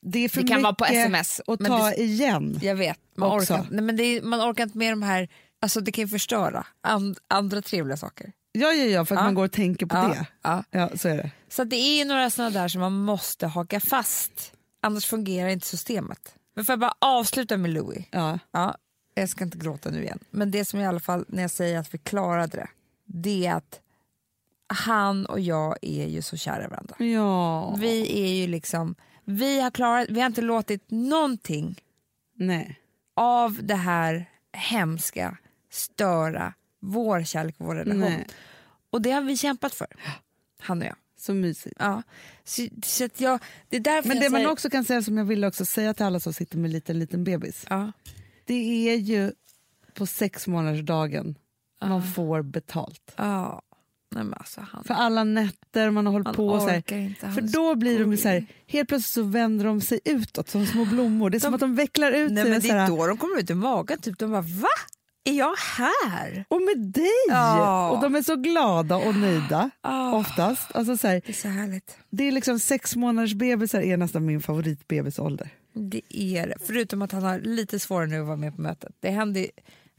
S1: det är för
S2: Det kan vara
S1: mycket
S2: på SMS,
S1: att
S2: men
S1: ta
S2: det-
S1: igen.
S2: Jag vet, man
S1: Också.
S2: orkar, inte- nej, men det är, man orkar inte med de här, alltså det kan ju förstöra and, andra trevliga saker.
S1: Ja, ja, ja, för att
S2: Ja.
S1: man går och tänker på
S2: Ja,
S1: det.
S2: ja.
S1: Ja, så är det.
S2: Så att det är ju några sådana där som man måste haka fast, annars fungerar inte systemet. Men får jag bara avsluta med Louis?
S1: Ja.
S2: Ja, jag ska inte gråta nu igen. Men det som i alla fall, när jag säger att vi klarade det, det är att han och jag är ju så kära i varandra.
S1: ja.
S2: Vi är ju liksom, vi har klarat, vi har inte låtit någonting
S1: Nej.
S2: av det här hemska störa vår kärlek och vår relation.
S1: Nej.
S2: Och det har vi kämpat för, han och jag.
S1: Så mysigt.
S2: Ja. Så, så att jag, det är därför
S1: Men
S2: jag
S1: det man
S2: säger,
S1: också kan säga som jag ville också säga till alla som sitter med en liten, liten bebis.
S2: ja.
S1: Det är ju på sex månadersdagen
S2: Ah.
S1: man får betalt.
S2: Ja. Nej, men alltså han,
S1: För alla nätter man har hållit
S2: han
S1: på. och Så här,
S2: orkar inte. Han
S1: för
S2: är
S1: då
S2: så
S1: blir de ju så här,
S2: gullig.
S1: helt plötsligt så vänder de sig utåt som små blommor. Det är som att de vecklar ut
S2: Nej,
S1: sig.
S2: men
S1: och
S2: det
S1: så här,
S2: är då de kommer ut ur magen. Typ. De bara, va? Är jag här?
S1: Och med dig!
S2: Ja.
S1: Och de är så glada och nöjda
S2: Ah.
S1: oftast. Alltså så här,
S2: Det är så härligt.
S1: det är liksom sex månaders bebisar är nästan min favoritbebisålder.
S2: Det är det. Förutom att han har lite svårare nu att vara med på mötet. Det händer ju-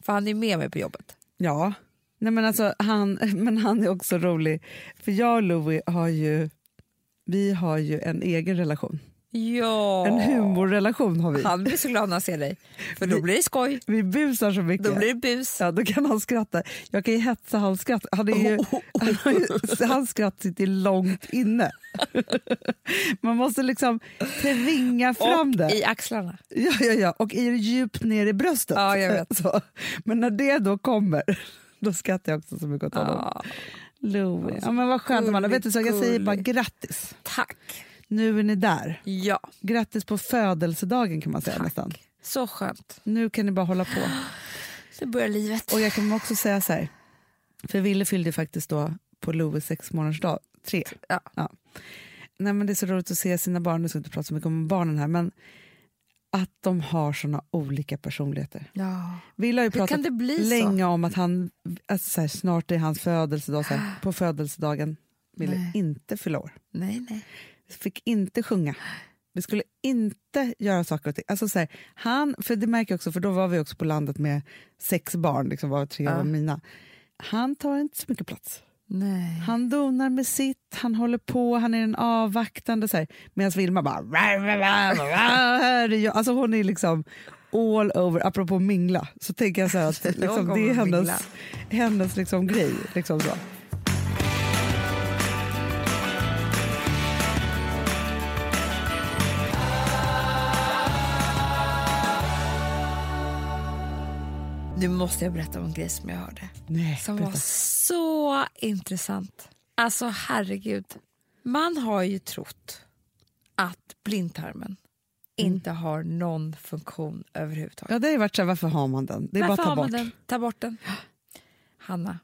S2: för han är ju med mig på jobbet.
S1: Ja. Nej, men, alltså, han, [LAUGHS] men han är också rolig, för jag och Louie har ju, vi har ju en egen relation.
S2: Ja.
S1: En humorrelation har vi.
S2: Han blir så glad när han ser dig. För då blir det skoj.
S1: Vi busar så mycket.
S2: Då blir det bus.
S1: Ja, då kan han skratta. Jag kan ju hetsa hans skratt. Han är ju,
S2: Oh,
S1: han har ju, hans skratt sitter långt
S2: [LAUGHS]
S1: inne. Man måste liksom tvinga fram
S2: Och
S1: det.
S2: i axlarna.
S1: Ja, ja, ja. och är djupt ner i bröstet.
S2: Ja, jag
S1: [LAUGHS]
S2: vet.
S1: Så. Men när det då kommer, då skrattar jag också så mycket åt honom.
S2: Ja,
S1: Louis. Ja, men vad skönt, Amanda.
S2: gullig,
S1: Vet du, så jag säger bara
S2: gullig.
S1: grattis.
S2: tack.
S1: Nu är ni där.
S2: Ja,
S1: Grattis på födelsedagen kan man säga nästan.
S2: så skönt.
S1: Nu kan ni bara hålla på.
S2: Nu börjar livet.
S1: Och jag kan också säga så här, för Ville fyllde ju faktiskt då på Louis sex månaders dag, tre.
S2: Ja.
S1: Nej, men det är så roligt att se sina barn, nu ska jag inte prata så mycket om barnen här, men att de har såna olika personligheter.
S2: Ja.
S1: Ville har ju
S2: Hur
S1: pratat
S2: kan det bli så?
S1: länge om att han, alltså så här, snart är hans födelsedag, så här, på födelsedagen ville
S2: Nej.
S1: inte fylla år.
S2: Nej, nej.
S1: Vi fick inte sjunga. Vi skulle inte göra saker och ting. Alltså så här, han, för det märker jag också, för då var vi också på landet med sex barn, liksom var tre
S2: Ja.
S1: av mina. Han tar inte så mycket plats.
S2: nej.
S1: Han donar med sitt, han håller på, han är en avvaktande. så här. Medan Vilma bara... "Rah, rah, rah, rah, här är jag." Alltså hon är liksom all over. Apropå mingla, så tänker jag så här att
S2: [LAUGHS]
S1: liksom, det
S2: kommer
S1: är hennes,
S2: mingla.
S1: hennes liksom, grej. Liksom så.
S2: Nu måste jag berätta om en grej som jag hörde.
S1: Nej,
S2: Som var
S1: berätta.
S2: så intressant. Alltså herregud. Man har ju trott att blindtarmen inte har någon funktion överhuvudtaget.
S1: Mm. Ja, det har ju varit så här, varför har man den? Det är
S2: Varför
S1: bara
S2: har
S1: att ta
S2: man
S1: bort.
S2: den? Ta bort den. Hanna,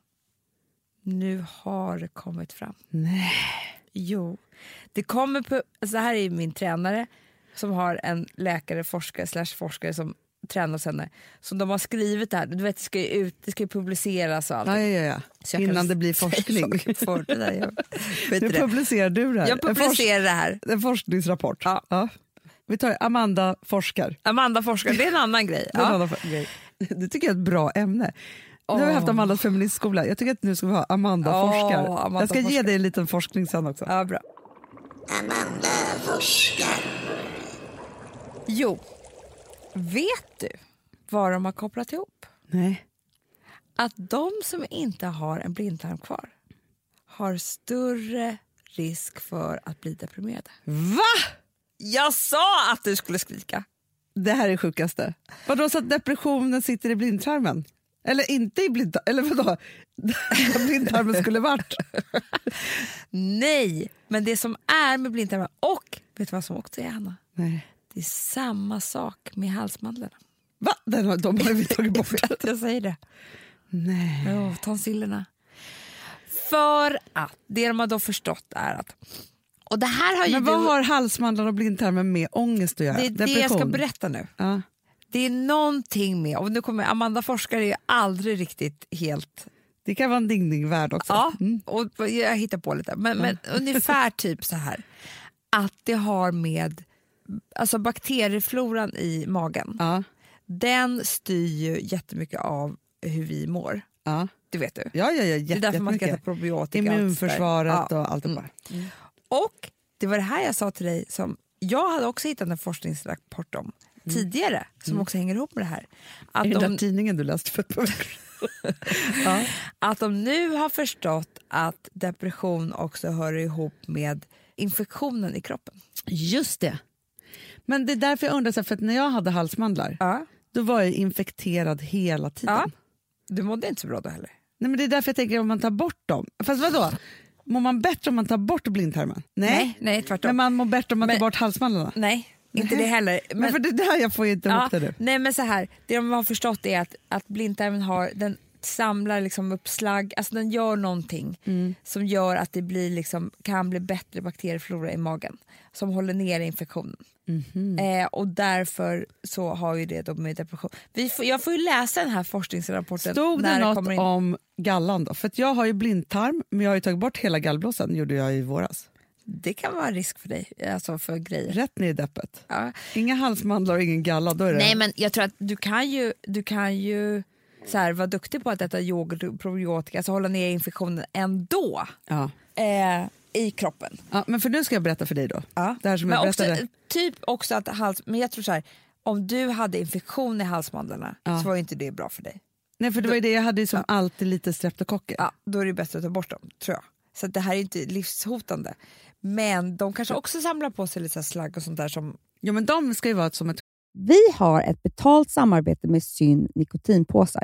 S2: nu har det kommit fram.
S1: Nej.
S2: Jo, det kommer på, alltså det här är ju min tränare som har en läkare, forskare, slash forskare som tränar hos henne. Som de har skrivit det här, du vet det ska ju ut, det ska ju publiceras och allt.
S1: Ja, ja,
S2: Så
S1: ja.
S2: jag kan
S1: Innan det
S2: [LAUGHS]
S1: blir
S2: säga
S1: forskning.
S2: saker för det där. Jag, vet
S1: Nu
S2: det.
S1: publicerar du det här.
S2: jag
S1: En forsk-
S2: publicerar det här.
S1: En forskningsrapport.
S2: Ja.
S1: Vi tar Amanda forskar.
S2: Amanda forskar, det är en annan grej.
S1: Det, är en
S2: Ja.
S1: annan for- grej. det tycker jag är ett bra ämne. Nu har vi haft
S2: Åh.
S1: Amandas feministskola. Jag tycker att nu ska vi ha Amanda
S2: Åh,
S1: forskar.
S2: Amanda
S1: jag ska ge
S2: forskar.
S1: dig en liten forskning sen också.
S2: Ja, bra. Jo, vet du vad de har kopplat ihop?
S1: Nej.
S2: Att de som inte har en blindtarm kvar har större risk för att bli deprimerade.
S1: Va?
S2: Jag sa att du skulle skrika!
S1: Det här är det sjukaste. Vadå, så att depressionen sitter i blindtarmen? Eller inte i blindtarmen? Eller vadå? [LAUGHS] Där blindtarmen skulle varit?
S2: Nej, men det som är med blindtarmen och vet du vad som också är, Hanna?
S1: Nej.
S2: Det är samma sak med halsmandlarna.
S1: Va? Den har, de har vi tagit bort.
S2: Att [LAUGHS] jag säger det.
S1: Nej.
S2: Oh, tonsillerna. För att, det de har då förstått är att... Och det här har ju
S1: Men
S2: du,
S1: vad har halsmandlarna och blindtarmen med ångest att göra?
S2: det är det jag ska berätta nu.
S1: Ja.
S2: Det är någonting med, och nu kommer Amanda Forskare är ju aldrig riktigt helt...
S1: Det kan vara en dingdingvärld också.
S2: Ja, och jag hittar på lite, men, men
S1: [LAUGHS]
S2: ungefär typ så här. Att det har med alltså bakteriefloran i magen.
S1: Ja.
S2: Den styr ju jättemycket av hur vi mår.
S1: Ja.
S2: Det vet du.
S1: Ja, ja, ja,
S2: Det är
S1: jätte-
S2: därför man ska äta
S1: jättemycket.
S2: probiotika. och allt
S1: Immunförsvaret
S2: sådär. Ja.
S1: och allt det där.
S2: Och det var det här jag sa till dig som jag hade också hittat en forskningsrapport om tidigare som också hänger ihop med det här. Att
S1: Mm. Är det den
S2: de,
S1: där tidningen du läste för ett par veckor sedan?
S2: att de nu har förstått att depression också hör ihop med infektionen i kroppen.
S1: Just det. Men det är därför jag undrar, så här, för att när jag hade halsmandlar
S2: Ja.
S1: då var jag infekterad hela tiden.
S2: ja. Du mådde inte så bra då heller.
S1: Nej, men det är därför jag tänker om man tar bort dem. Fast vadå? Mår man bättre om man tar bort blindtarmen? Nej,
S2: nej tvärtom.
S1: men man mår bättre om man
S2: Men-
S1: tar bort halsmandlarna.
S2: nej, inte det heller.
S1: Men, för det där jag får ju inte
S2: Ja,
S1: ihop det nu.
S2: Nej men så här, det de har förstått är att, att blindtarmen har, den samlar liksom upp slagg, alltså den gör någonting
S1: Mm.
S2: som gör att det blir liksom, kan bli bättre bakterieflora i magen som håller nere infektionen.
S1: Mhm.
S2: Eh, och därför så har ju det då med depression. Vi får, jag får ju läsa den här forskningsrapporten
S1: Stod det
S2: när det
S1: något
S2: kommer in.
S1: om gallan då? För att jag har ju blindtarm, men jag har ju tagit bort hela gallblåsan, gjorde jag i våras.
S2: Det kan vara en risk för dig, alltså för grejer.
S1: Rätt ner i deppet.
S2: Ja.
S1: Inga halsmandlar och ingen galla, då är det...
S2: Nej men jag tror att du kan ju, du kan ju så här, vara duktig på att äta yoghurt och probiotika, alltså hålla ner infektionen ändå.
S1: Ja.
S2: eh, i kroppen.
S1: Ja, men för nu ska jag berätta för dig då. Det här som
S2: men
S1: jag
S2: också,
S1: berättade.
S2: typ också att hals, men jag tror så här, om du hade infektion i halsmandlarna så var ju inte det bra för dig.
S1: Nej, för det var ju det jag hade ju som alltid lite streptokocker.
S2: Ja, då är det bättre att ta bort dem, tror jag. Så att det här är ju inte livshotande. Men de kanske också samlar på sig lite så här slagg och sånt där som...
S1: Jo, men de ska ju vara som ett
S4: Vi har ett betalt samarbete med Syn nikotinpåsar.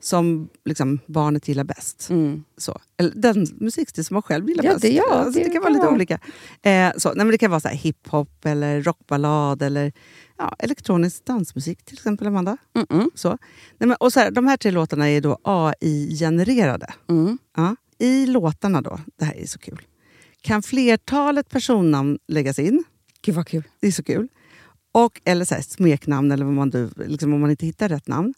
S5: som liksom, barnet gillar bäst. Så. Eller den musikstil som man själv gillar
S4: Ja,
S5: bäst.
S4: det- ja,
S5: alltså, det,
S4: det
S5: kan vara
S4: kan
S5: lite
S4: vara.
S5: olika. Eh, så. Nej, men det kan vara så här hiphop, eller rockballad eller ja, elektronisk dansmusik till exempel, Amanda. Så. Nej, men, och så här, de här tre låtarna är då AI-genererade.
S4: Mm.
S5: Ja. I låtarna då, det här är så kul, kan flertalet personnamn läggas in.
S4: Gud vad kul.
S5: Det är så kul. Och, eller så här, smeknamn, eller vad man, du- liksom, om man inte hittar rätt namn.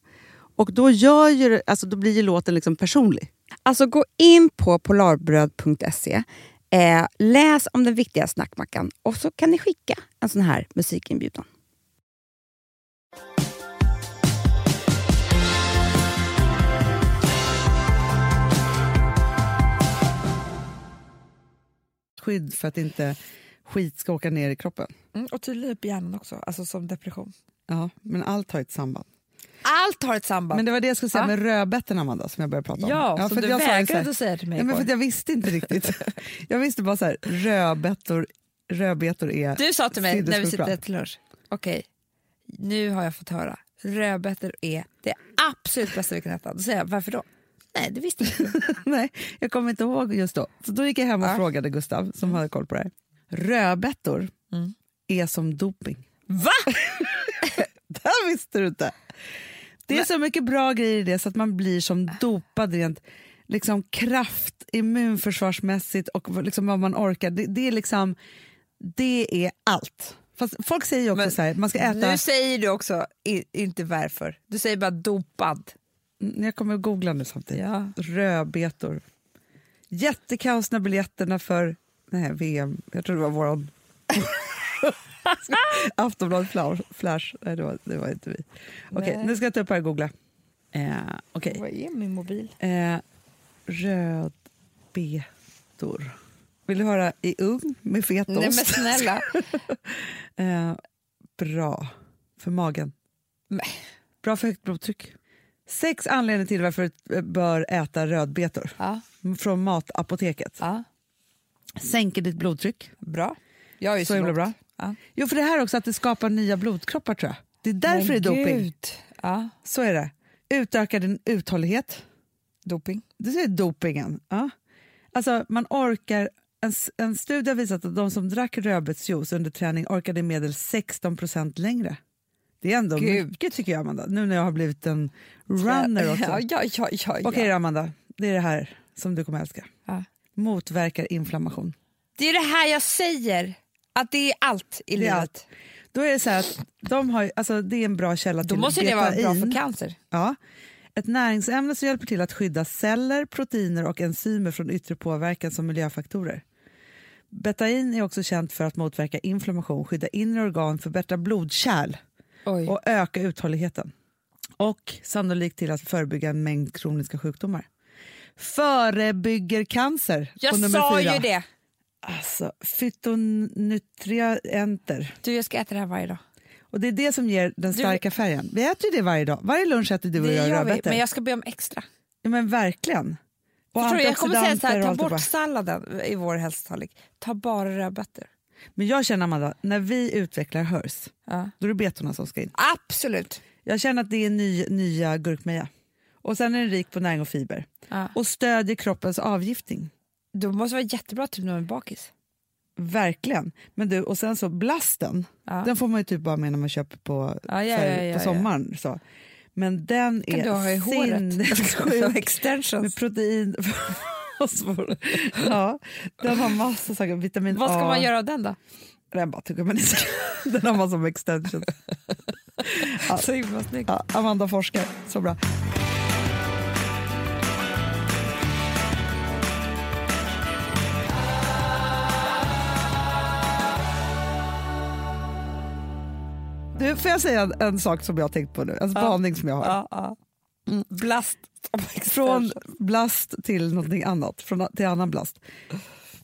S5: Och då, gör ju, det- alltså, då blir ju låten liksom personlig.
S4: Alltså gå in på polarbröd.se, eh, läs om den viktiga snackmackan och så kan ni skicka en sån här musikinbjudan.
S1: Skydd för att inte skit ska åka ner i kroppen.
S2: Mm, och tydligen upp i hjärnan också, alltså som depression.
S1: Ja, men allt har ett samband.
S2: Allt har ett samband.
S1: Men det var det jag skulle säga
S2: Va?
S1: med rödbetan, Amanda, som jag började prata om.
S2: ja, som
S1: för
S2: du
S1: jag sa ju så här-
S2: vägrade att säga till mig
S1: Nej, men för
S2: igår.
S1: att jag visste inte riktigt.
S2: [LAUGHS]
S1: jag visste bara så här, rödbetor, rödbetor är...
S2: Du sa till mig när vi
S1: Sinnessjukt bra.
S2: sitter till lunch, okej, nu har jag fått höra, rödbetor är det absolut bästa vi kan äta. Då säger jag, varför då? Nej, det visste jag inte.
S1: [LAUGHS] Nej, jag kommer inte ihåg just då. Så då gick jag hem och
S2: Ja. Mm.
S1: frågade Gustav som hade koll på det här. Rödbetor är som doping.
S2: [LAUGHS] Va?
S1: [LAUGHS] Det visste du inte. Det är så mycket bra grejer i det så att man blir som dopad rent liksom kraft, immunförsvarsmässigt och liksom vad man orkar. Det, det är liksom, det är allt. Fast folk säger ju också
S2: Men
S1: så här, man ska äta...
S2: Nu säger du också i, inte varför, du säger bara dopad.
S1: Mm, Jag kommer att googla nu samtidigt.
S2: Ja.
S1: Rödbetor. Jättekaos när biljetterna för nej, VM... Jag tror det var
S2: [LAUGHS]
S1: vår... Aftonbladet Flash. Flash. Nej, det var, det var inte vi. Okej,
S2: Nej.
S1: nu ska jag ta upp här och googla. Eh, Okej.
S2: Vad är min mobil?
S1: Eh, rödbetor. Vill du höra i ugn med fetaost?
S2: Nej men snälla.
S1: eh, bra för magen.
S2: Nej.
S1: Bra för högt blodtryck. Sex anledningar till varför du eh, bör äta rödbetor
S2: Ja,
S1: från Matapoteket.
S2: ja,
S1: Sänker ditt blodtryck.
S2: bra. Jag är ju
S1: Så himla
S2: lågt.
S1: bra.
S2: Ja.
S1: Jo, för det här också att det skapar nya blodkroppar tror jag. Det är därför
S2: Men
S1: det är doping.
S2: Gud. Ja.
S1: Så är det. Utökar din uthållighet.
S2: Doping.
S1: Du säger dopingen. Ja. Alltså, man orkar, en, s- en studie har visat att de som drack rödbetsjuice under träning orkade i medel 16 längre. Det är ändå
S2: Gud.
S1: mycket, tycker jag, Amanda. Nu när jag har blivit en runner också.
S2: Ja, ja, ja, ja, ja.
S1: Okej, då, Amanda. Det är det här som du kommer älska.
S2: Ja.
S1: Motverkar inflammation.
S2: Det är det här jag säger, att det är allt i
S1: Det är
S2: livet.
S1: allt. Då är det så här att de har, ju- alltså, det är en bra källa
S2: Då
S1: till
S2: måste det vara bra för
S1: betain.
S2: cancer.
S1: Ja. Ett näringsämne som hjälper till att skydda celler, proteiner och enzymer från yttre påverkan som miljöfaktorer. Betain är också känt för att motverka inflammation, skydda inre organ, förbättra blodkärl
S2: Oj.
S1: och öka uthålligheten. Och sannolikt till att förebygga en mängd kroniska sjukdomar. Förebygger cancer på
S2: jag
S1: nummer
S2: sa
S1: fyra.
S2: ju det!
S1: Alltså, fytonutrienter.
S2: Du, jag ska äta det här varje dag.
S1: Och det är det som ger den starka färgen. Vi äter ju det varje dag. Varje lunch äter du och
S2: Det
S1: jag
S2: gör vi,
S1: rödbetor.
S2: men jag ska be om extra.
S1: Ja, men verkligen. Och typ
S2: Förstår du, jag kommer säga så här,
S1: antioxidanter och
S2: ta
S1: allt det
S2: bort
S1: bara.
S2: salladen i vår hälsotallrik. Ta bara rödbetor.
S1: Men jag känner Amanda, när vi utvecklar HERS,
S2: Ja.
S1: då är det betorna som ska in.
S2: Absolut.
S1: Jag känner att det är ny, nya gurkmeja. Och sen är den rik på näring och fiber.
S2: Ja.
S1: Och stödjer kroppens avgiftning.
S2: Du måste vara jättebra till när man är bakis.
S1: Verkligen. Men du, och sen så blasten,
S2: Ja.
S1: den får man ju typ bara med när man köper på,
S2: Ja, ja,
S1: så här,
S2: ja, ja,
S1: på
S2: ja.
S1: sommaren. Så. Men den
S2: kan du ha i
S1: är
S2: håret. [LAUGHS]
S1: sinnessjuk.
S2: extensions.
S1: med protein. fosfor. [LAUGHS] ja, den har massa saker. Vitamin
S2: Vad ska
S1: A.
S2: man göra av den då?
S1: Den bara tuggar man i sig. [LAUGHS] Den har man som extension.
S2: Så himla snyggt.
S1: Ja, Amanda forskar, så bra. Du, får jag säga en, en sak som jag har tänkt på nu? En spaning som jag har.
S2: Ja, ja. Mm, Blast.
S1: Från blast till någonting annat, från till annan blast.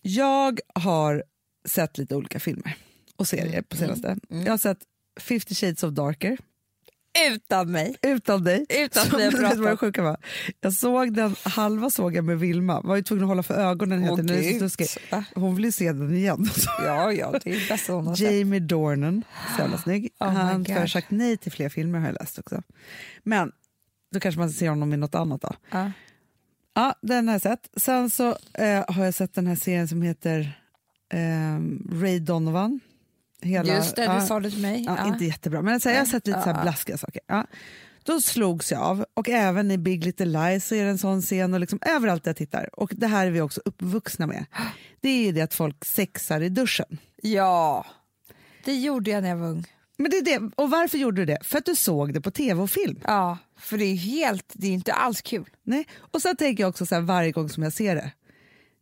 S1: Jag har sett lite olika filmer och
S2: Mm.
S1: serier på senaste. Jag har sett 50 shades of darker.
S2: Utan mig.
S1: Utan
S2: [LAUGHS]
S1: dig.
S2: Utan att
S1: Som
S2: vi har
S1: du [LAUGHS] vet
S2: pratat.
S1: vad det sjuka var. Jag såg den, halva såg jag med Vilma. Var ju tvungen att hålla för ögonen hela tiden. Den är så snuskig.
S2: Va?
S1: Hon vill ju se den
S2: [LAUGHS]
S1: igen.
S2: Ja, ja, det är det bästa hon har sett.
S1: Jamie Dornan, så jävla snygg.
S2: [GASPS] Oh my
S1: Han
S2: God.
S1: har sagt nej till fler filmer har jag läst också. Men då kanske man ser honom i något annat då.
S2: Ja.
S1: Ja, den har jag sett. Sen så eh, har jag sett den här serien som heter ehm, Ray Donovan. Hela,
S2: Just det,
S1: ja,
S2: du sa det till mig.
S1: Ja,
S2: Ja.
S1: Inte jättebra, men så här, jag har sett lite så
S2: Ja.
S1: här blaskiga saker. Ja. Då slogs jag av, och även i Big Little Lies så är det en sån scen. Och liksom överallt där jag tittar. Och det här är vi också uppvuxna med. Det är ju det att folk sexar i duschen.
S2: ja, det gjorde jag när jag var ung.
S1: Men det är det. Och varför gjorde du det? För att du såg det på tv och film.
S2: Ja, för det är helt, det är inte alls kul.
S1: Nej. Och sen tänker jag också så här varje gång som jag ser det.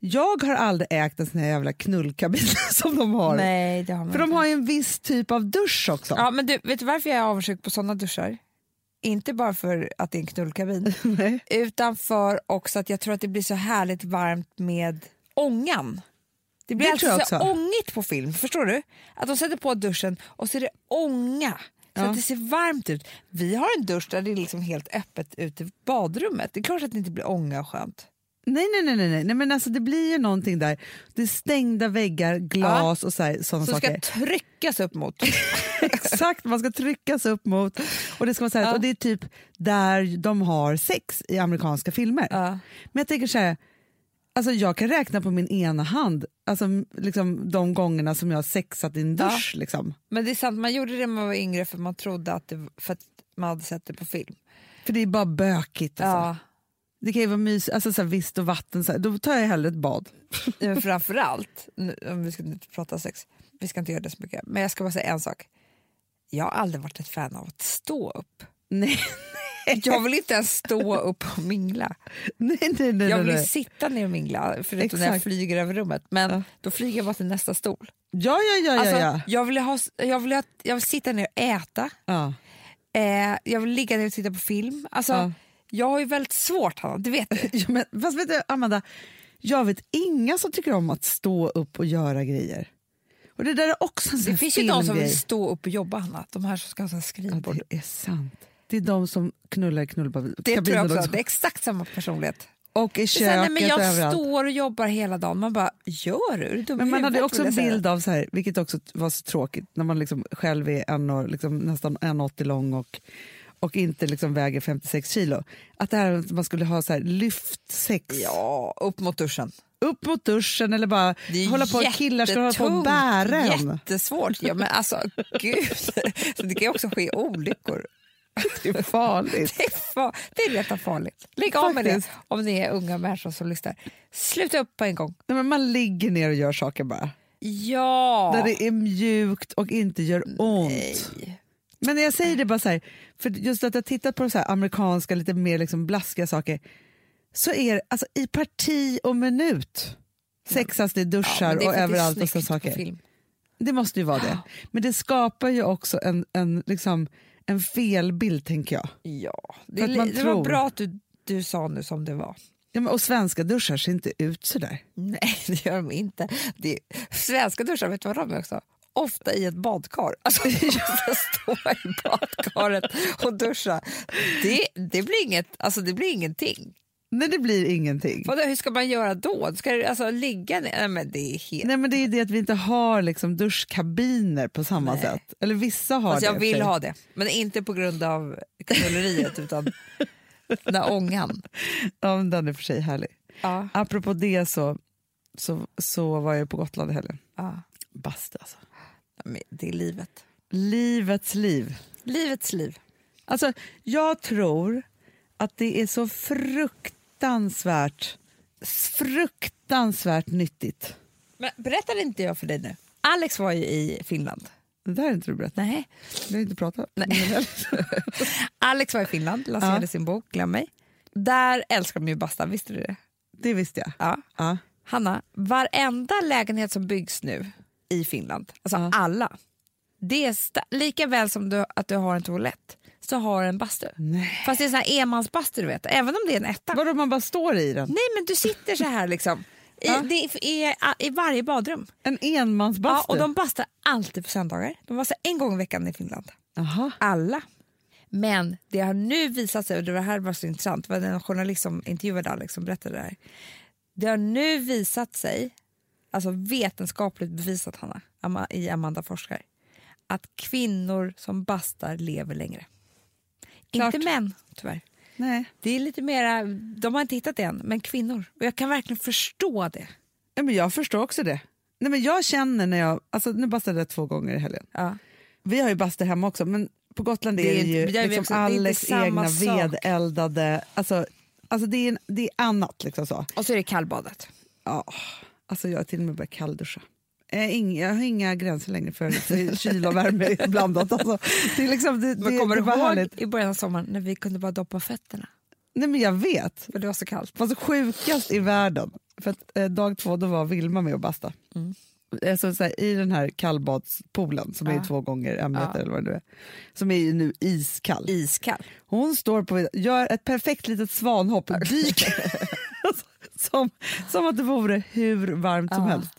S1: Jag har aldrig ägt en sån här jävla knullkabin [LAUGHS] som de har.
S2: Nej, det har man
S1: För de har ju en viss typ av dusch också.
S2: Ja, men du, vet du varför jag är avundsjuk på såna duschar? Inte bara för att det är en knullkabin,
S1: [LAUGHS] Nej.
S2: utan för också att jag tror att det blir så härligt varmt med ångan. Det blir
S1: Det tror jag
S2: alltid så
S1: också.
S2: ångigt på film, förstår du? Att de sätter på duschen och så är det ånga. Så
S1: Ja.
S2: att det ser varmt ut. Vi har en dusch där det är liksom helt öppet ute i badrummet. Det är klart att det inte blir ånga och skönt.
S1: Nej, nej, nej, nej, nej. nej men alltså, det blir ju någonting där. Det är stängda väggar, glas och så här, sådana
S2: Så det [LAUGHS]
S1: saker.
S2: ska tryckas
S1: [LAUGHS]
S2: upp mot.
S1: Exakt, man ska tryckas upp mot. Och det ska vara så här,
S2: Ja.
S1: och det är typ där de har sex i amerikanska filmer.
S2: Ja.
S1: Men jag tänker så här, alltså jag kan räkna på min ena hand alltså, liksom, de gångerna som jag har sexat i en dusch. Liksom.
S2: Men det är sant, man gjorde det när man var yngre för man trodde att det, för att man hade sett det på film.
S1: För det är bara bökigt. Alltså.
S2: Ja.
S1: Det kan ju vara mysigt, alltså, så här, visst och vatten, så här, då tar jag hellre ett bad. [LAUGHS]
S2: Ja, [LAUGHS] Men framförallt, nu- om vi ska inte prata sex, vi ska inte göra det så mycket, men jag ska bara säga en sak. Jag har aldrig varit ett fan av att stå upp.
S1: [LAUGHS] Nej,
S2: Jag vill inte ens stå upp och mingla.
S1: nej, nej. nej,
S2: Jag
S1: nej,
S2: vill ju
S1: nej.
S2: sitta ner och mingla, förutom när jag
S1: Exakt.
S2: flyger över rummet. Men då flyger jag bara till nästa stol.
S1: Ja, ja, ja.
S2: Alltså,
S1: ja, ja.
S2: Jag, vill ha, jag, vill ha, jag vill sitta ner och äta,
S1: ja. [LAUGHS]
S2: eh, jag vill ligga ner och titta på film. Alltså,
S1: Ja.
S2: Jag har ju väldigt svårt, Hanna, du vet det.
S1: Ja, men, fast vet du, Amanda, jag vet inga som tycker om att stå upp och göra grejer. Och Det där är också en sån
S2: Det
S1: här
S2: finns ju de som vill
S1: filmgrej.
S2: stå upp och jobba, Hanna. De här som ska ha sån här
S1: Ja,
S2: skrivbord.
S1: det är sant. Det är de som knullar i knullkabinen
S2: Det tror jag också.
S1: också.
S2: Det är exakt samma personlighet.
S1: Och i
S2: Sen, nej,
S1: köket
S2: men
S1: och
S2: jag
S1: överallt.
S2: står och jobbar hela dagen. Man bara, gör du? Är du dum i
S1: Men man hade
S2: huvudet,
S1: också
S2: vill
S1: en
S2: jag säga.
S1: bild av, så här, vilket också t- var så tråkigt, när man liksom själv är en och, liksom, nästan 1,80 lång och, och inte liksom väger 56 kilo. Att det här att man skulle ha så här lyftsex
S2: Ja, upp mot duschen.
S1: upp mot duschen eller bara
S2: Det är
S1: hålla på killar ska hålla på och
S2: jättetungt,
S1: bära en.
S2: Jättesvårt. Ja, men
S1: [LAUGHS]
S2: alltså, gud. Så Det kan ju också ske olyckor.
S1: Det är farligt.
S2: Det är, fa- det är rent av farligt. Lägg av med det om ni är unga människor som lyssnar. Sluta upp på en gång.
S1: Nej, men man ligger ner och gör saker bara.
S2: Ja!
S1: Där det är mjukt och inte gör ont. Men jag säger det bara så här, för just att jag tittat på så här amerikanska lite mer liksom blaskiga saker så är det alltså, i parti och minut sexas det i duschar
S2: men det är
S1: och
S2: för att det är
S1: överallt och sådana
S2: snyggt på
S1: saker.
S2: film.
S1: Det måste ju vara det. Men det skapar ju också en, en, liksom, en felbild tänker jag.
S2: Ja.
S1: För
S2: Det,
S1: att man
S2: det
S1: tror.
S2: var bra att du, du sa nu som det var.
S1: Ja, men, och svenska duschar ser inte ut sådär.
S2: Nej, [LAUGHS] det gör de inte. Det är, svenska duschar, vet du vad de är också? Ofta i ett badkar. [LAUGHS] Alltså, just att stå i badkaret och duscha. Det, det, blir inget, alltså, det blir ingenting.
S1: Nej, det blir ingenting.
S2: Vadå, hur ska man göra då? Ska det alltså ligga ner? Nej, men det är helt...
S1: Nej, men det är ju det att vi inte har liksom duschkabiner på samma sätt. Eller vissa har
S2: Alltså,
S1: det.
S2: jag
S1: i och för
S2: vill
S1: sig.
S2: ha det, men inte på grund av knulleriet utan den där ångan.
S1: Ja, men den är för sig härlig.
S2: Ja.
S1: Apropå det så, så, så var jag på Gotland i helgen.
S2: Ja.
S1: Basta alltså.
S2: Men Det är livet.
S1: Livets liv.
S2: Livets liv.
S1: Alltså, jag tror att det är så fruktansvärt, fruktansvärt nyttigt.
S2: Men berättade inte jag för dig nu? Alex var ju i Finland.
S1: Det där har inte du berättat.
S2: Nej.
S1: Vi har inte pratat.
S2: Nej. [LAUGHS] Alex var i Finland, lanserade
S1: Ja.
S2: sin bok Glöm mig. Där älskar de ju basta, visste du det?
S1: Det visste jag.
S2: Ja.
S1: Ja.
S2: Hanna, varenda lägenhet som byggs nu i Finland, alltså alla, det är sta- lika väl som du, att du har en toalett så har du en bastu.
S1: Nej.
S2: Fast det är sån här enmansbastu du vet, även om det är en etta.
S1: Vadå, man bara står i den?
S2: Nej men du sitter så
S1: [LAUGHS]
S2: här liksom. I, det är, I varje badrum.
S1: En
S2: Ja,
S1: enmansbastu?
S2: och de bastar alltid på söndagar. De bastar en gång i veckan i Finland.
S1: Jaha.
S2: alla. Men det har nu visat sig, och det var här var så intressant, det var en journalist som intervjuade Alex som berättade det här. Det har nu visat sig, alltså vetenskapligt bevisat Hanna, Ama- i Amanda forskar, att kvinnor som bastar lever längre.
S1: Klart.
S2: Inte män tyvärr.
S1: Nej.
S2: Det är lite mera, de har inte hittat det än, men kvinnor. Och jag kan verkligen förstå det.
S1: Ja, men jag förstår också det. Nej, men jag känner när jag... Alltså, nu bastade jag två gånger i helgen.
S2: Ja.
S1: Vi har ju bastu hemma också, men på Gotland är
S2: Det
S1: det,
S2: är inte-
S1: ju
S2: jag vet
S1: liksom
S2: också, det är inte
S1: Alex
S2: samma
S1: egna
S2: sak.
S1: vedeldade... Alltså, alltså det, är en, det är annat. liksom så.
S2: Och så är det kallbadet.
S1: Ja, alltså jag har till och med börjat kallduscha. Eh, ing- Jag har inga gränser längre för, för kyla och
S2: [LAUGHS]
S1: värme blandat. Alltså, det är liksom, det,
S2: Men
S1: det,
S2: kommer
S1: det
S2: du
S1: var
S2: ihåg
S1: härligt.
S2: i början av sommaren när vi kunde bara doppa fötterna?
S1: Nej, men jag vet.
S2: För det var så kallt.
S1: Vad så sjukast i världen. För att, eh, dag två då var Vilma med och basta.
S2: Mm.
S1: Eh, Så, så här, I den här kallbadspoolen som är två gånger en meter eller vad det nu är. Som är ju nu iskall.
S2: Iskall.
S1: Hon står på, gör ett perfekt litet
S2: [LAUGHS]
S1: svanhopp och dyker. Alltså, [LAUGHS] som, som att det vore hur varmt som helst.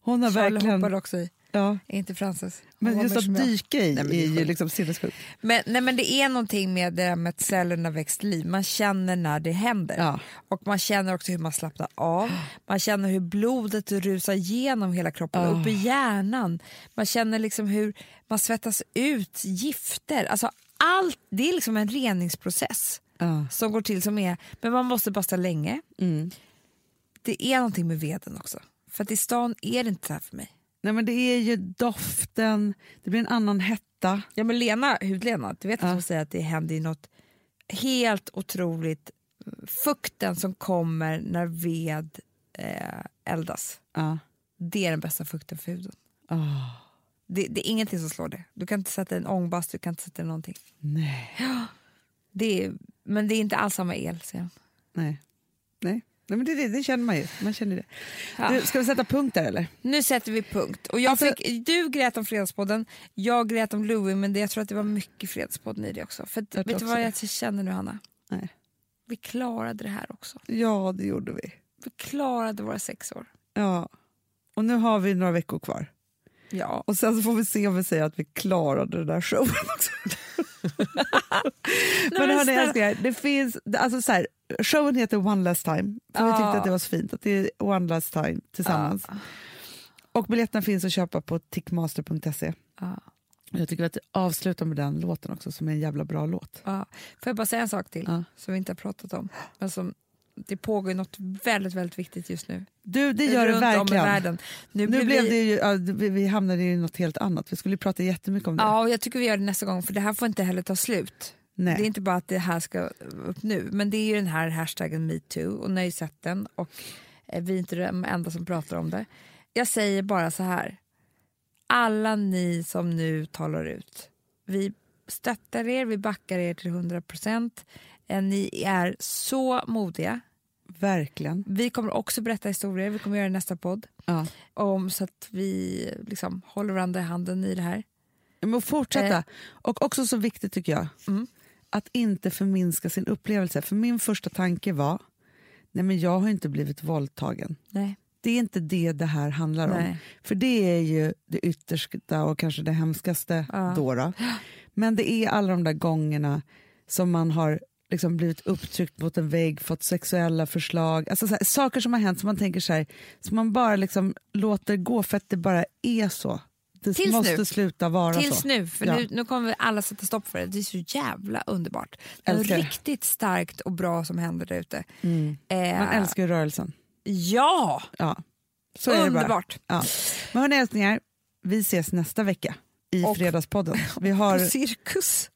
S1: Hon har
S2: Ah. Charlie hoppade
S1: verkligen...
S2: också i.
S1: Ja,
S2: Inte Frances. Hon
S1: men
S2: var
S1: just
S2: mer som
S1: att
S2: jag.
S1: dyka i
S2: men det är
S1: är ju
S2: sjukt.
S1: liksom sinnessjukt.
S2: Men, nej, men det är någonting med det där med att cellerna växt liv. Man känner när det händer.
S1: Ja.
S2: Och man känner också hur man slappnar av. Man känner hur blodet rusar genom hela kroppen,
S1: Ah.
S2: upp i hjärnan. Man känner liksom hur man svettas ut gifter. Alltså allt, det är liksom en reningsprocess
S1: Ja.
S2: som går till som är, men man måste basta länge.
S1: Mm.
S2: Det är någonting med veden också. För att i stan är det inte så här för mig.
S1: Nej, men det är ju doften, det blir en annan hetta.
S2: Ja men Lena, hudlena, du vet att hon säger att det händer ju något helt otroligt. mm, Fukten som kommer när ved eh, eldas,
S1: Ja.
S2: det är den bästa fukten för huden.
S1: Ah,
S2: Det, det är ingenting som slår det. Du kan inte sätta en ångbast, du kan inte sätta någonting.
S1: Nej.
S2: [GASPS] Det är, men det är inte alls samma el, säger hon.
S1: Nej. Nej. Nej, men det, det, det känner man ju. Man känner det.
S2: Ja.
S1: Du, ska vi sätta punkt där eller?
S2: Nu sätter vi punkt. Och jag
S1: Alltså-
S2: fick, du grät om Fredagspodden, jag grät om Louie, men det, jag tror att det var mycket Fredagspodden i det också. För att,
S1: Jag
S2: vet
S1: tror
S2: du
S1: också
S2: vad
S1: det.
S2: jag känner nu, Hanna?
S1: Nej.
S2: Vi klarade det här också.
S1: Ja, det gjorde vi.
S2: Vi klarade våra sex år.
S1: Ja. Och nu har vi några veckor kvar.
S2: Ja,
S1: Och sen så får vi se om vi säger att vi klarade den där showen också. men
S2: men
S1: hörni
S2: snälla.
S1: älsklingar, det finns, alltså så här, showen heter One Last Time. För vi
S2: Ja.
S1: tyckte att det var så fint att det är One Last Time tillsammans. Och biljetterna finns att köpa på tickmaster.se.
S2: Ja.
S1: Jag tycker att avsluta med den låten också, som är en jävla bra låt.
S2: Ja. Får jag bara säga en sak till
S1: Ja.
S2: som vi inte har pratat om? Men som, det pågår ju något väldigt, väldigt viktigt just nu.
S1: Du, det gör
S2: Runt
S1: det
S2: om i
S1: verkligen.
S2: världen. Nu,
S1: Nu
S2: blir
S1: blev
S2: vi,
S1: det ju, ja, vi, vi hamnade i något helt annat. Vi skulle ju prata jättemycket om det.
S2: Ja, och jag tycker vi gör det nästa gång för det här får inte heller ta slut.
S1: Nej.
S2: Det är inte bara att det här ska upp nu, men det är ju den här hashtaggen metoo och ni har ju sett den och eh, vi är inte de enda som pratar om det. Jag säger bara så här, alla ni som nu talar ut, vi stöttar er, vi backar er till 100%. Eh, Ni är så modiga.
S1: Verkligen.
S2: Vi kommer också berätta historier, vi kommer göra det i nästa podd,
S1: Ja.
S2: om, så att vi liksom håller varandra i handen i det här.
S1: Men att fortsätta. Och också så viktigt tycker jag,
S2: Eh. Mm.
S1: att inte förminska sin upplevelse. För min första tanke var, nej men jag har inte blivit våldtagen.
S2: Nej.
S1: Det är inte det det här handlar om.
S2: Nej.
S1: För det är ju det yttersta och kanske det hemskaste
S2: Ja.
S1: då, då. Men det är alla de där gångerna som man har liksom blivit upptryckt mot en vägg, fått sexuella förslag, alltså så här, saker som har hänt som man tänker så här, som man bara liksom låter gå för att det bara är så. Det
S2: Tills
S1: måste
S2: nu.
S1: sluta vara så.
S2: Tills nu, för
S1: Ja.
S2: nu, nu kommer vi alla sätta stopp för det. Det är så jävla underbart. Det är
S1: Älskar det.
S2: riktigt starkt och bra som händer där ute.
S1: Mm.
S2: Eh,
S1: Man älskar ju rörelsen.
S2: Ja,
S1: Ja. Så är det bara.
S2: underbart!
S1: Ja. Men hörni älsklingar, vi ses nästa vecka i
S2: Och- Alltså.
S1: Fredagspodden.
S2: [LAUGHS]
S1: Vi har,
S2: På cirkus.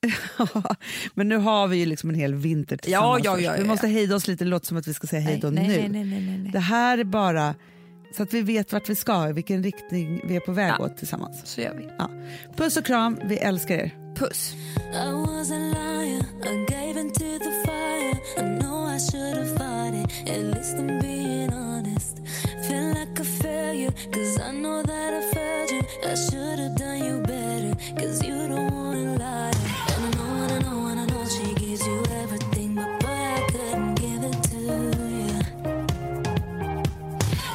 S1: [LAUGHS] men nu har vi ju liksom en hel vinter tillsammans.
S2: ja,
S1: först.
S2: ja, ja,
S1: vi
S2: ja.
S1: måste hejda oss lite, det låter som att vi ska säga hej då nu.
S2: nej, nej, nej, nej, nej, nej.
S1: Det här är bara så att vi vet vart vi ska, i vilken riktning vi är på väg åt tillsammans.
S2: Så gör vi.
S1: Ja. Puss och kram, vi älskar er.
S2: Puss!
S6: I was a liar. I gave in to the fire. I know I should have fought it. At least I'm being honest. Feel like a failure, cause I know that I failed you. I should have done you better, cause you don't wanna lie. And I know, and I know, and I know she gives you everything, but boy, I couldn't give it to you.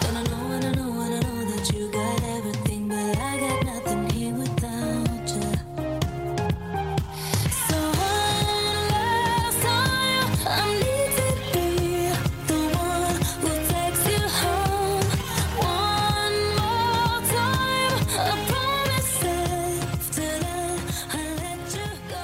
S6: And I know, and I know, and I know that you got everything, but I got nothing here without you. So one last time, I need to be the one who takes you home. One more time, I promise after that I'll let you go.